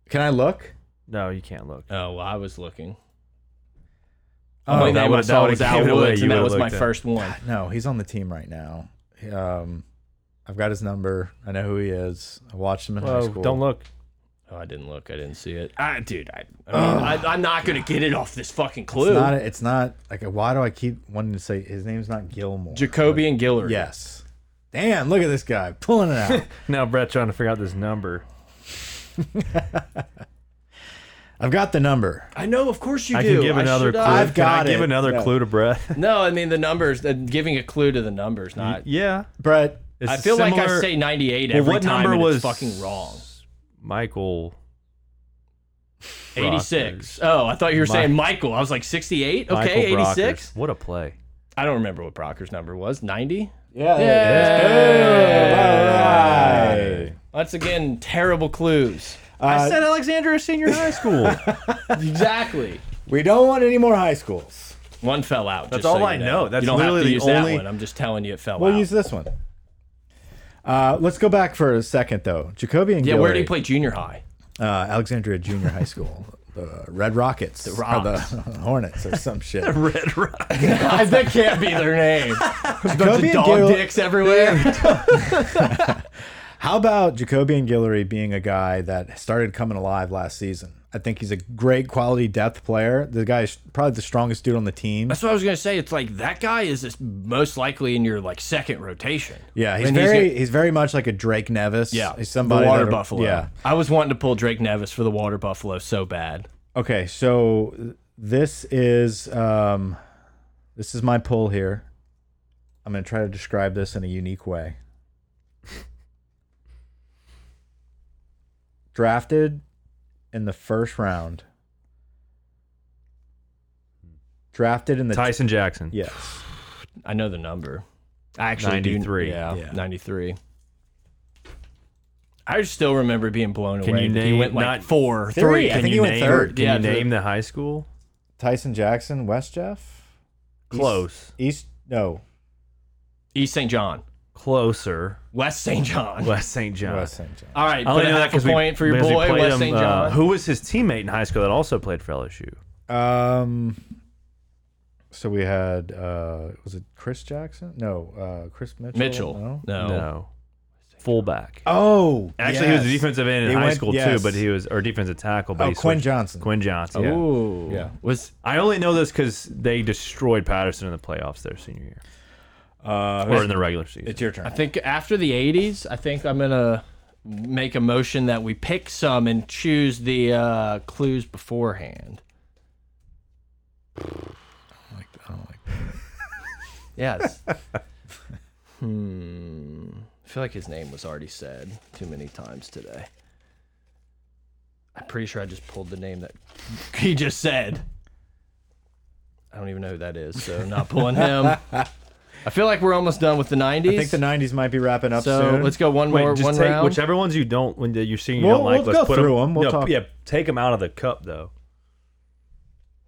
Can I look? No, you can't look. Oh, well, I was looking. Oh, Only that name I would've- that saw would've was Al given it away. Woods, You and that would've was my looked at it. first one. No, he's on the team right now. Um, I've got his number. I know who he is. I watched him in high Whoa, school. don't look. Oh, I didn't look. I didn't see it. I, dude, I, I mean, I, I'm not gonna get it off this fucking clue. It's not. It's not like why do I keep wanting to say his name's not Gilmore? Jacoby and Gillard. yes. Damn! Look at this guy pulling it out. Now Brett trying to figure out this number. I've got the number. I know. Of course you I do. can give another should, clue. uh, I've Can got I give it. another No. clue to Brett. No, I mean the numbers. Uh, giving a clue to the numbers, not. yeah. Brett, It's I feel like I similar- say 98 Well, every what time. number and was it's fucking wrong? Michael 86. Oh, I thought you were saying Michael. I was like 68. Okay, Michael 86. Brockers. What a play. I don't remember what Brocker's number was. 90. Yeah. Once again, terrible clues. I said Alexandria Senior High School. Exactly. We don't want any more high schools. One fell out. That's all I know. That's you don't have literally to the use only- that one. I'm just telling you it fell We'll out. use this one. Uh, let's go back for a second, though. Jacoby and yeah, where did he Guillory, play junior high? Uh, Alexandria Junior High School. The Red Rockets. The Rocks. Or the Hornets or some shit. Red Rock. that can't be their name. Jacoby and Dog Guillory- dicks everywhere. How about Jacoby and Guillory being a guy that started coming alive last season? I think he's a great quality depth player. The guy's probably the strongest dude on the team. That's what I was gonna say. It's like that guy is this- most likely in your like second rotation. Yeah, he's And very gonna- he's, very much like a Drake Nevis. Yeah, he's somebody the water that- buffalo. Yeah. I was wanting to pull Drake Nevis for the water buffalo so bad. Okay, so this is um, this is my pull here. I'm gonna try to describe this in a unique way. Drafted in the first round. Drafted in the Tyson Jackson. yes. I know the number. I actually 93. Do, yeah, Yeah. 93. I still remember being blown Can away. you that he name- went like not- four, Three. three. I Can think he you went name, third. Can Yeah, you third. name the high school? Tyson Jackson, West Jeff, Close. East no East St. John, Closer. West St. John. West St. John. West St. John. All right, I only put a know that half a because we, point for your because we boy played West him, St. uh, John. who was his teammate in high school that also played for LSU? Um. So we had uh, was it Chris Jackson? No, uh, Chris Mitchell. Mitchell. No. No. No. Fullback. Oh, Actually, he was a yes. defensive end in He high went- school yes. too, but he was or defensive tackle. But Oh, he Quinn switched- Johnson. Quinn Johnson. yeah. Ooh. Yeah. Was I only know this because they destroyed Patterson in the playoffs their senior year Uh, or in the regular season. it's your turn. I think after the 80s, I think I'm going to make a motion that we pick some and choose the uh, clues beforehand. I like I don't like Yes. hmm. I feel like his name was already said too many times today. I'm pretty sure I just pulled the name that he just said. I don't even know who that is, so I'm not pulling him. I feel like we're almost done with the 90s. I think the '90s might be wrapping up so soon. let's go one more, Wait, just one take round. whichever ones you don't when you're seeing you We'll- don't like. we'll let's go put through 'em. them. We'll no, talk. Yeah, take them out of the cup though.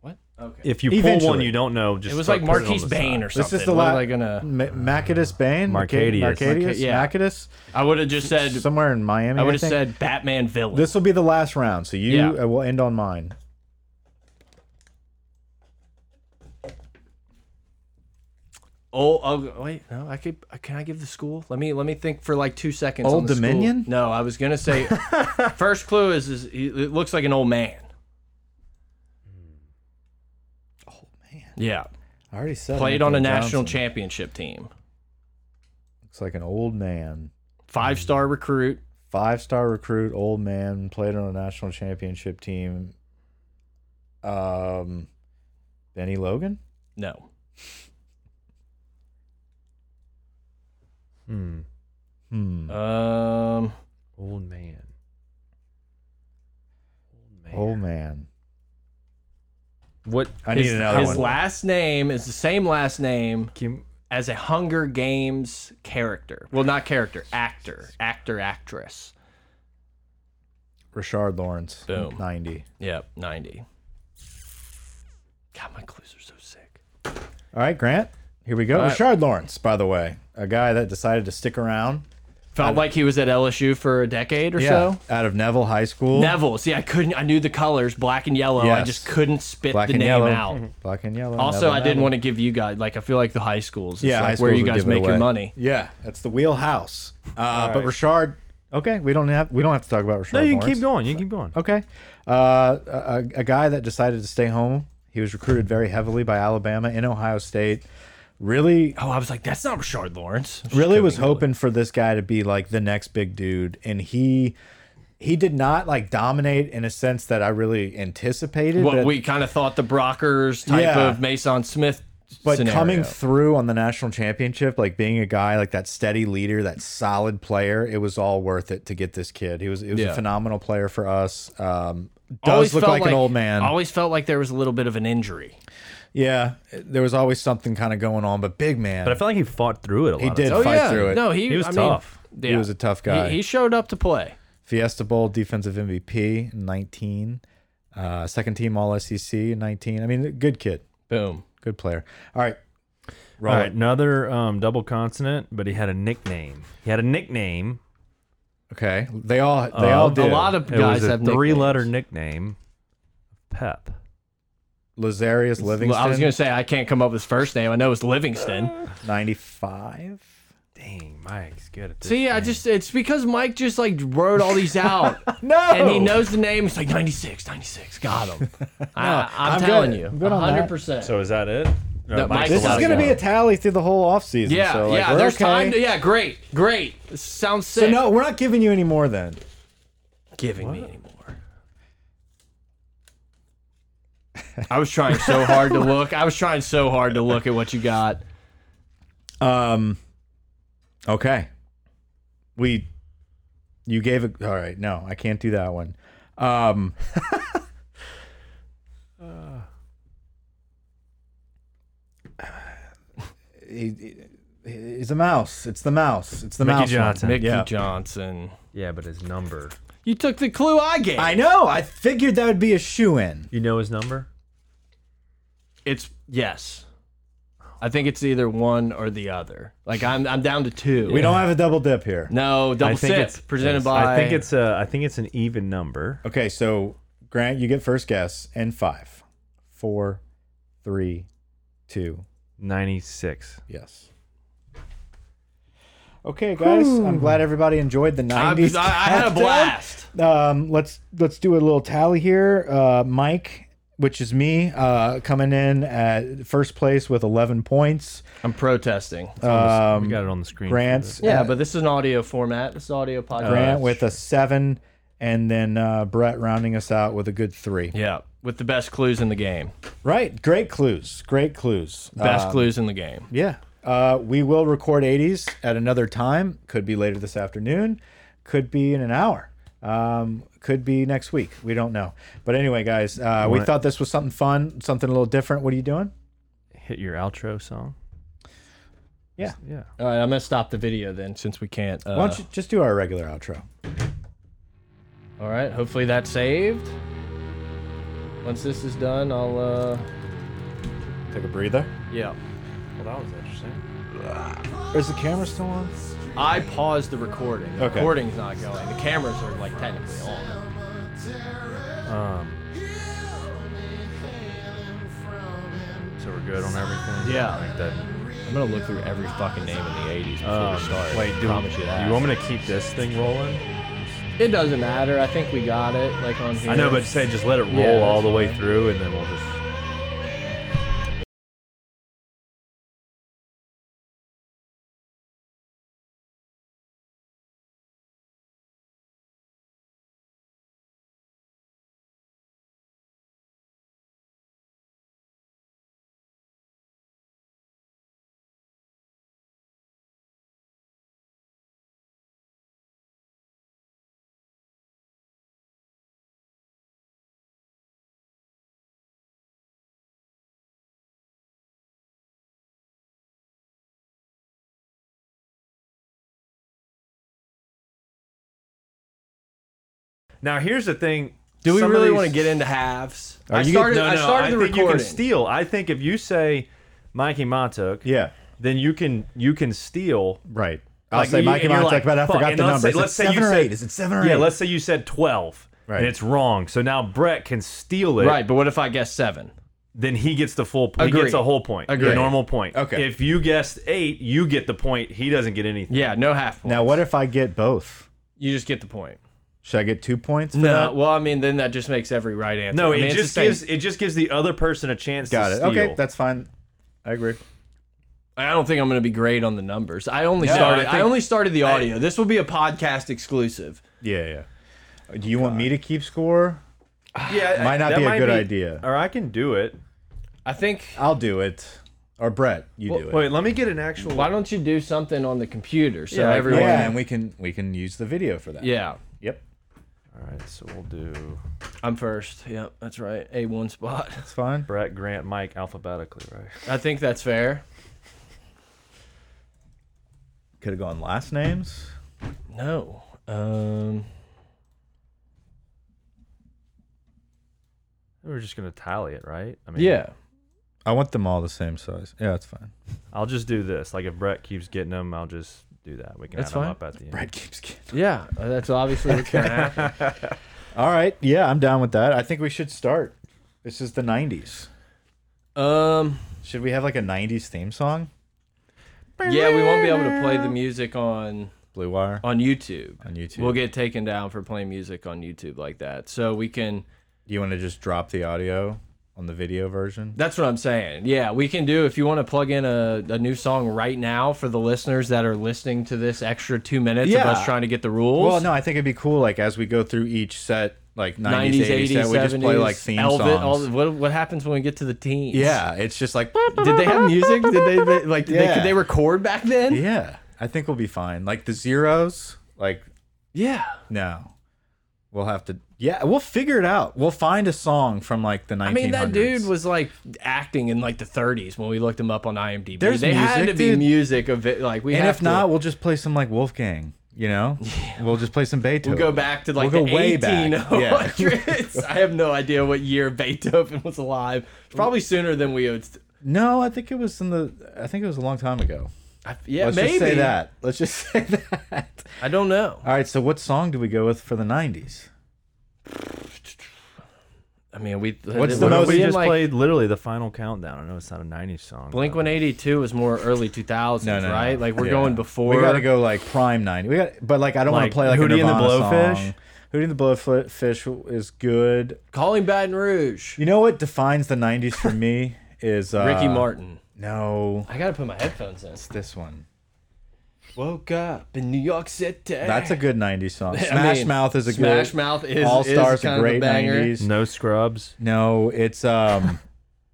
What? Okay. If you pull one Eventually. you don't know, just It was start like putting it on Marquise the Bain side. or something. This is the what last. am I gonna? uh, Macadus Bain, Marcadius. Marcadius, Marca- yeah. Macadus, I would have just said. somewhere in Miami. I I would have think. said Batman villain. this will be the last round. So you, Yeah. I will end on mine. Oh, oh, wait, no, I could. Can I give the school? Let me let me think for like two seconds. Old on the school. Dominion? No, I was gonna say. first clue is, is he- it looks like an old man. Old man. Yeah, I already said played on a Anthony national Johnson. championship team. Looks like an old man, Five star recruit. five star recruit, old man, played on a national championship team. Um, Benny Logan. No, Hmm. Hmm. um, Old man. Old man. old man. What? I his, need another his one. last name is the same last name Kim, as a Hunger Games character. Well, not character, actor, actor, actress. Richard Lawrence. Boom. Ninety. Yep, 90. God, my clues are so sick. All right, Grant. Here we go. right. Richard Lawrence, by the way, a guy that decided to stick around. Felt like he was at LSU for a decade or so. out of Neville High School. Neville. See, I couldn't. I knew the colors, black and yellow. I Yes. just couldn't spit Black the and name yellow. Mhm. out. Black and yellow. Also, Neville, I didn't Neville. want to give you guys like I feel like the high schools. It's Yeah, like high where you schools would guys give it make your away. money. Yeah, that's the wheelhouse. Uh, But Richard, okay, we don't have we don't have to talk about Richard. no, you can Lawrence. keep going. You can keep going. Okay, uh, a, a guy that decided to stay home. He was recruited very heavily by Alabama in Ohio State. Really, Oh, I was like, that's not Richard Lawrence. really was hoping for this guy to be like the next big dude, and he he did not like dominate in a sense that I really anticipated. What but- we kind of thought the Brockers type Yeah. of Mason Smith. But scenario. coming through on the national championship, like being a guy like that steady leader, that solid player, it was all worth it to get this kid. He was he was Yeah. a phenomenal player for us. Um, Always does look felt like, an old man. Always felt like there was a little bit of an injury. yeah, there was always something kind of going on, but big man. But I felt like he fought through it a lot. he of did times. fight through it. Oh, No, he, He was I mean, tough. yeah. He was a tough guy. He, he showed up to play. Fiesta Bowl defensive MVP in 19, uh, second team All SEC in 19. I mean, good kid, Boom. good player. All right, All roll right, it. another um, double consonant, but he had a nickname. He had a nickname. Okay, they all they all Uh, did. A lot of it guys was a have three-letter nickname. Pep. Lazarius nicknames. Livingston. Uh, I was gonna say I can't come up with his first name. I know it's Livingston. 95. Dang, Mike's good at this. See, I just it's because Mike just like wrote all these out. No. And he knows the name. It's like 96, 96. Got him. I, I'm, I'm telling good. you, I'm good on that. 100. percent So is that it? No, That Mike's This a lot is of going to guys. be a tally through the whole offseason. Yeah, so, like, yeah. we're There's okay. time. To, yeah, great, great. This sounds sick. So no, we're not giving you any more then. giving me anymore. I was trying so hard to look. I was trying so hard to look at what you got. Um. Okay. We. You gave a. All right. No, I can't do that one. Um. he- he- he's a mouse. It's the mouse. It's the Mickey mouse. one. Johnson. Mickey Yeah. Johnson. Yeah, but his number. You took the clue I gave. I know. I figured that would be a shoe in. You know his number? it's yes. I think it's either one or the other. Like I'm, I'm down to two. We don't have a double dip here. No double I think sip it's presented yes. by. I think it's a. I think it's an even number. Okay, so Grant, you get first guess in five, four, three, two, Ninety-six. yes. Okay, guys, I'm glad everybody enjoyed the I, I 90s. I had a countdown. blast. Um, let's let's do a little tally here. Uh, Mike which is me, uh, coming in at first place with 11 points. I'm protesting. we got it on the screen. for Grant's yeah, but this is an audio format. This is audio podcast. uh, Grant with a seven, and then uh, Brett rounding us out with a good three. yeah, with the best clues in the game. Right, great clues, great clues. Uh, Best clues in the game. yeah, uh, we will record 80s at another time. Could be later this afternoon, could be in an hour, um, could be next week. We don't know. But anyway, guys, uh, we Wanna- thought this was something fun, something a little different. What are you doing? the- Hit your outro song. Yeah. Yeah. All right, I'm gonna stop the video then, since we can't. Uh, Why don't you just do our regular outro? All right. Hopefully that's saved. Once this is done, I'll. uh Take a breather. Yeah. Well, that was interesting. Is the camera still on? I paused the recording. The Okay. recording's not going. The cameras are like technically on. Um, so we're good on everything. Yeah. Like that. I'm gonna look through every fucking name in the '80s before Um, we start. wait, do, promise you that. you want me to keep this thing rolling? It doesn't matter. I think we got it. Like on here. I know, but say just let it roll Yeah, that's all the way fine. through, and then we'll just. Now here's the thing. Do we Some of really these- want to get into halves? I you- started. No, no. I started the think you recording. can steal. I think if you say Mikey Montauk, Yeah, then you can you can steal. right. I'll Like, say you- Mikey and you're Montauk, like, but I fuck, forgot and the let's number. say- Is it let's say you seven or said- eight? Is it seven or eight? Yeah, let's say you said twelve, Right. and it's wrong. So now Brett can steal it. Right, but what if I guess seven? Then he gets the full. He Agree. gets a whole point. Agree. The normal point. Okay. If you guessed eight, you get the point. He doesn't get anything. Yeah, no half point. Now, what if I get both? you just get the point. Should I get two points? For No, that? well, I mean, then that just makes every right answer. No, I mean, it it's just the same- gives it just gives the other person a chance. Got to it. Steal. Okay, that's fine. I agree. I don't think I'm going to be great on the numbers. I only Yeah, started. I I, think- only started the audio. this will be a podcast exclusive. Yeah, yeah. Oh Do you want me to keep score? yeah, I- Might not that be a good idea. Or I can do it. I think. I'll do it. Or Brett, you do it. Wait, let me get an actual. Why don't you do something on the computer so Yeah, I- everyone? yeah, Yeah. and we can we can use the video for that. Yep. All right, so we'll do I'm first. Yep, that's right. A one spot. That's fine. Brett, Grant, Mike alphabetically, right? I think that's fair. Could have gone last names. No. Um. We're just gonna tally it, right? I mean, Yeah. I want them all the same size. Yeah, that's fine. I'll just do this. Like if Brett keeps getting them, I'll just do that. We can That's add 'em fine. up at the end. Brett keeps getting. Yeah. That's obviously what's going to happen. All right. Yeah, I'm down with that. I think we should start. This is the 90s. Um. Should we have like a 90s theme song? Yeah, we won't be able to play the music on Blue Wire. on YouTube. On YouTube. We'll get taken down for playing music on YouTube like that. So we can. Do you want to just drop the audio on the video version? That's what I'm saying. Yeah, we can do if you want to plug in a, a new song right now for the listeners that are listening to this extra two minutes of Yeah. us trying to get the rules. Well, no, I think it'd be cool. Like as we go through each set, like 90s, 90s, 80s, 80s, set, we 70s, just play like theme Elvis, songs. All, the- what, what happens when we get to the teens? yeah, it's just like Did they have music? Did they, they like? Did they, Yeah. could they record back then? Yeah, I think we'll be fine. Like the zeros, like Yeah. no, we'll have to. Yeah, we'll figure it out. We'll find a song from like the 1900s. I mean, that dude was like acting in like the 30s when we looked him up on IMDb. There's they had music, to be dude. music of it. Like we And have if to- not, we'll just play some like Wolfgang. You know, we'll just play some Beethoven. We'll go back to like We'll the go way back. 1800s. I have no idea what year Beethoven was alive. Probably sooner than we would. No, I think it was in the. I think it was a long time ago. I, yeah, Let's maybe. just say that. Let's just say that. I don't know. All right. So, what song do we go with for the '90s? I mean, we. What's what the are most- we we in, just like, played literally the final countdown. I know it's not a '90s song. Blink but- One Eighty Two was more early 2000s, right? Like we're Yeah. going before. We got to go like prime '90s. We got, but like I don't want Like, to play like a Hootie and the Nirvana Blowfish? song. Hootie and the Blowfish is good. Calling Baton Rouge. You know what defines the '90s for me is uh, Ricky Martin. No, I gotta put my headphones in. it's this one. Woke up in New York City. That's a good '90s song. I Smash mean, Mouth is a good. Smash Mouth is All Stars is kind a great of a banger. '90s. No scrubs. No, it's um,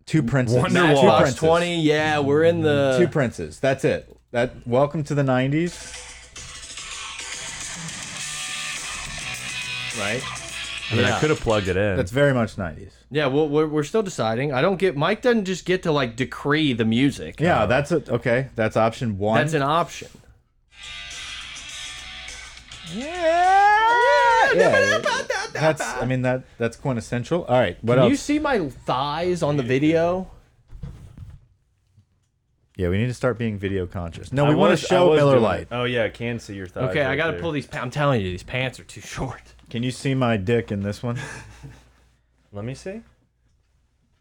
two princes. Wonderwall. Two Matchbox Box princes. twenty. uh, Yeah, we're in the. Two princes. That's it. That welcome to the '90s. Right. I mean, Yeah. I could have plugged it in. That's very much '90s. yeah, well, we're, we're still deciding. I don't get. Mike doesn't just get to like decree the music. Yeah, that's a, okay. That's option one. that's an option. yeah, that's. I mean that that's quintessential. All right. What Do else? you see my thighs on the video? Yeah, we need to start being video conscious. No, I we want was- to I show was Miller doing- Lite. Oh yeah, I can see your thighs. Okay, I right gotta there. pull these. pa- I'm telling you, these pants are too short. Can you see my dick in this one? Let me see.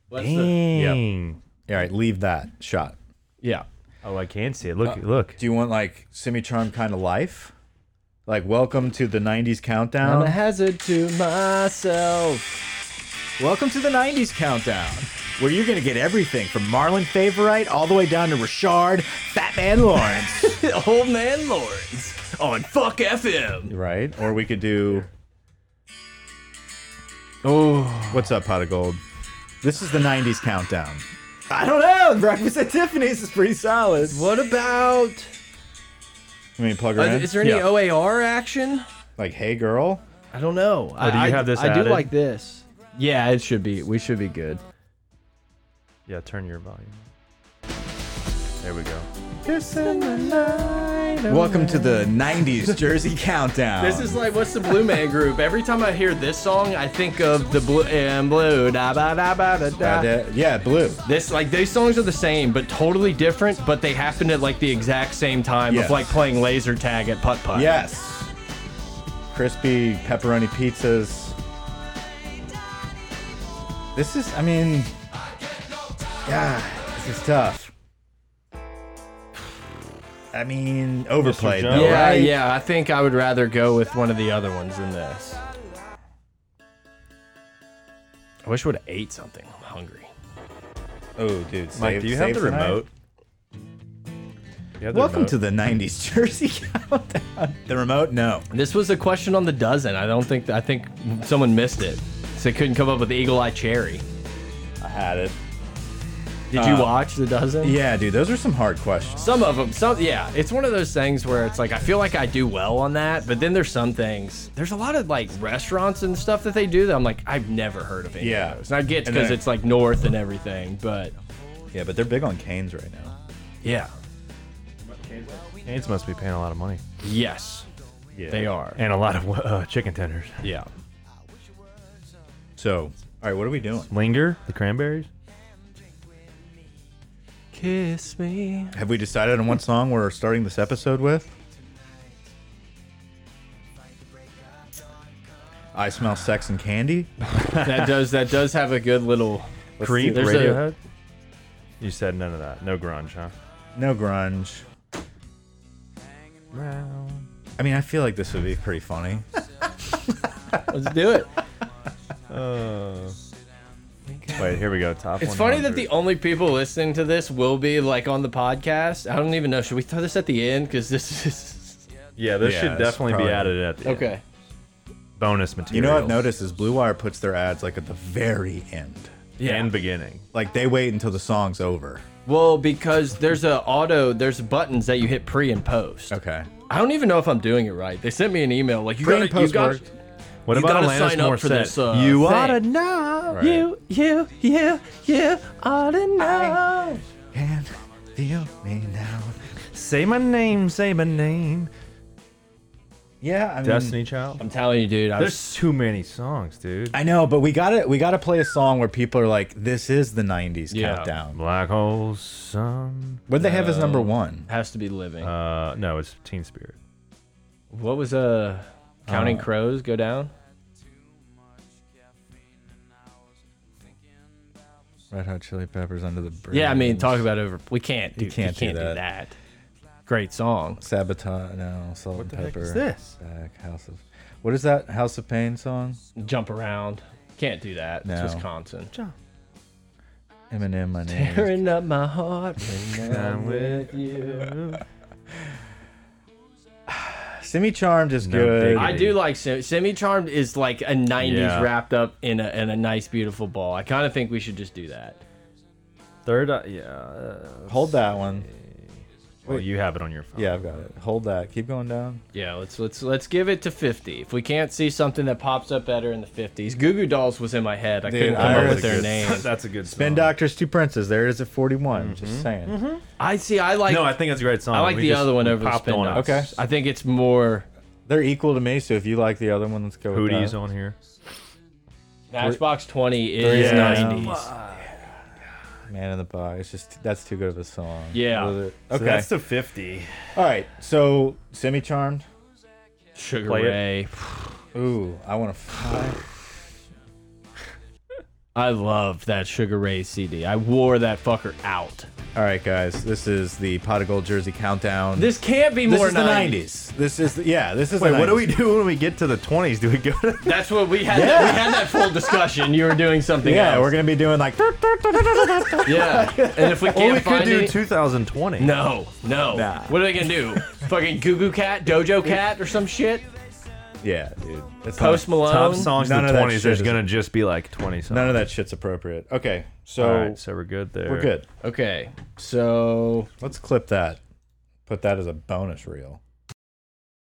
What's the- Dang. All right, leave that shot. yeah. Oh, I can see it. Look, look. Do you want like semi-charm kind of life? Like welcome to the '90s I'm a countdown. hazard to myself. Welcome to the '90s countdown, where you're gonna get everything from Marlon Favorite all the way down to Richard Fat Man Lawrence. Old man Lawrence on Fuck FM. right? Or we could do Oh, What's up, Pot of Gold? This is the 90s countdown. I don't know. Breakfast at Tiffany's is pretty solid. what about? I mean, plug her Uh, in. is there any Yeah. OAR action? like, hey, girl? I don't know. I, Oh, do you I- have this I do added? like this. Yeah, it should be. We should be good. Yeah, turn your volume. There we go. Welcome to the 90s Jersey countdown. This is like what's the Blue Man Group? Every time I hear this song, I think of the Blue and Blue. Da ba da ba da Uh, da. that- yeah, blue. This like these songs are the same, but totally different. But they happen at like the exact same time Yes. of like playing laser tag at putt putt. Yes. Crispy pepperoni pizzas. This is, I mean, God, this is tough. I mean, overplayed. Jones. though, Yeah, right? Oh, yeah. I think I would rather go with one of the other ones than this. I wish I would have ate something. I'm hungry. Oh, dude. Mike, save- do you have save the tonight. remote? You have the Welcome remote? to the 90s Jersey Countdown. The remote? No. This was a question on the dozen. I don't think I think someone missed it. So they couldn't come up with the Eagle Eye Cherry. I had it. Did you Uh, watch the dozen? Yeah, dude, those are some hard questions. Some of them, some yeah. It's one of those things where it's like I feel like I do well on that, but then there's some things. There's a lot of like restaurants and stuff that they do that I'm like I've never heard of any Yeah. of those. And I get And because then- it's like north and everything, but Yeah, but they're big on canes right now. yeah, Canes must be paying a lot of money. yes, Yeah. they are. And a lot of uh, chicken tenders. Yeah, So, all right, what are we doing? Linger, the cranberries. kiss me. Have we decided on what song we're starting this episode with? I smell sex and candy. that does that does have a good little. Creep, There's a- Radiohead. You said none of that. No grunge, huh? No grunge. I mean, I feel like this would be pretty funny. Let's do it. Wait, here we go. Top. It's funny that the 100. only people listening to this will be like on the podcast. I don't even know. Should we throw this at the end? Because this is yeah, this Yeah, should it's definitely be probably- added at the okay. bonus material. You know, what I've noticed is Blue Wire puts their ads like at the very end. Yeah. And beginning. Like they wait until the song's over. Well, because there's a auto, there's buttons that you hit pre and post. Okay. I don't even know if I'm doing it right. They sent me an email like you Pre got and you post got worked. What You about gotta Alanis sign up for Morissette? this, uh, you thing. oughta know. Right. you you you you ought to know. And feel me now. Say my name. Say my name. Yeah, I mean, Hmm. Destiny Child. I'm telling you, dude. I was, There's too many songs, dude. I know, but we gotta we gotta play a song where people are like, "This is the '90s Yeah. countdown." Black Hole Sun. What would they have as number one? has to be living. Uh, no, it's Teen Spirit. what was uh counting crows go down? Red Hot Chili Peppers under the bridge. Yeah, I mean, talk about over. We can't. Do, can't we do can't do that. that. Great song. sabotage. No, salt and the heck pepper. is this? Back house of. What is that House of Pain song? Jump around. Can't do that. No. It's Wisconsin. Eminem, my name. is- Tearing up my heart when I'm with you. Semi Charmed is No good. biggie. I do like Sim- Semi Charmed is like a 90s Yeah. wrapped up in a, in a nice, beautiful ball. I kind of think we should just do that. Third, eye, yeah. uh, Hold that one. Well, you have it on your phone. Yeah, I've got it. Hold that. Keep going down. Yeah, let's let's let's give it to 50. If we can't see something that pops up better in the 50s, Goo Goo Dolls was in my head. I Dude, couldn't come I up heard with their name. That's a good song. Mm-hmm. Ben Doctors, Two Princes. There it is at 41. Just saying. I see. I like. No, I think it's a great song. I like We the just- other one we over the popped Spin on Doctors. Okay. I think it's more They're equal to me, so if you like the other one, let's go with Hooties that. on here. Matchbox 20 is Yeah. 90s. Man in the Box. It's just that's too good of a song. Yeah. Was it- So Okay. that's the 50. All right. So Semi Charmed. Sugar Play it. Ray. Ooh, I want to. I love that Sugar Ray CD. I wore that fucker out. All right, guys. This is the Pot of Gold Jersey countdown. This can't be This more is 90s. the 90s. This is the, yeah. This is Wait, the what do 90s. we do when we get to the 20s? Do we go to That's what we had. we had that full discussion. You were doing something Yeah, we're else. gonna be doing like. Yeah, And if we can't Well, we could find do any- 2020. No, no. Nah. What are they gonna do? Fucking Goo Goo Cat, Dojo Cat, or some shit? Yeah, dude. That's not- Post Malone. Top songs None in of the that 20s, there's shit is- going to just be like 20 songs. None of that shit's appropriate. Okay, so All right, so we're good there. we're good. Okay, so Let's clip that. Put that as a bonus reel.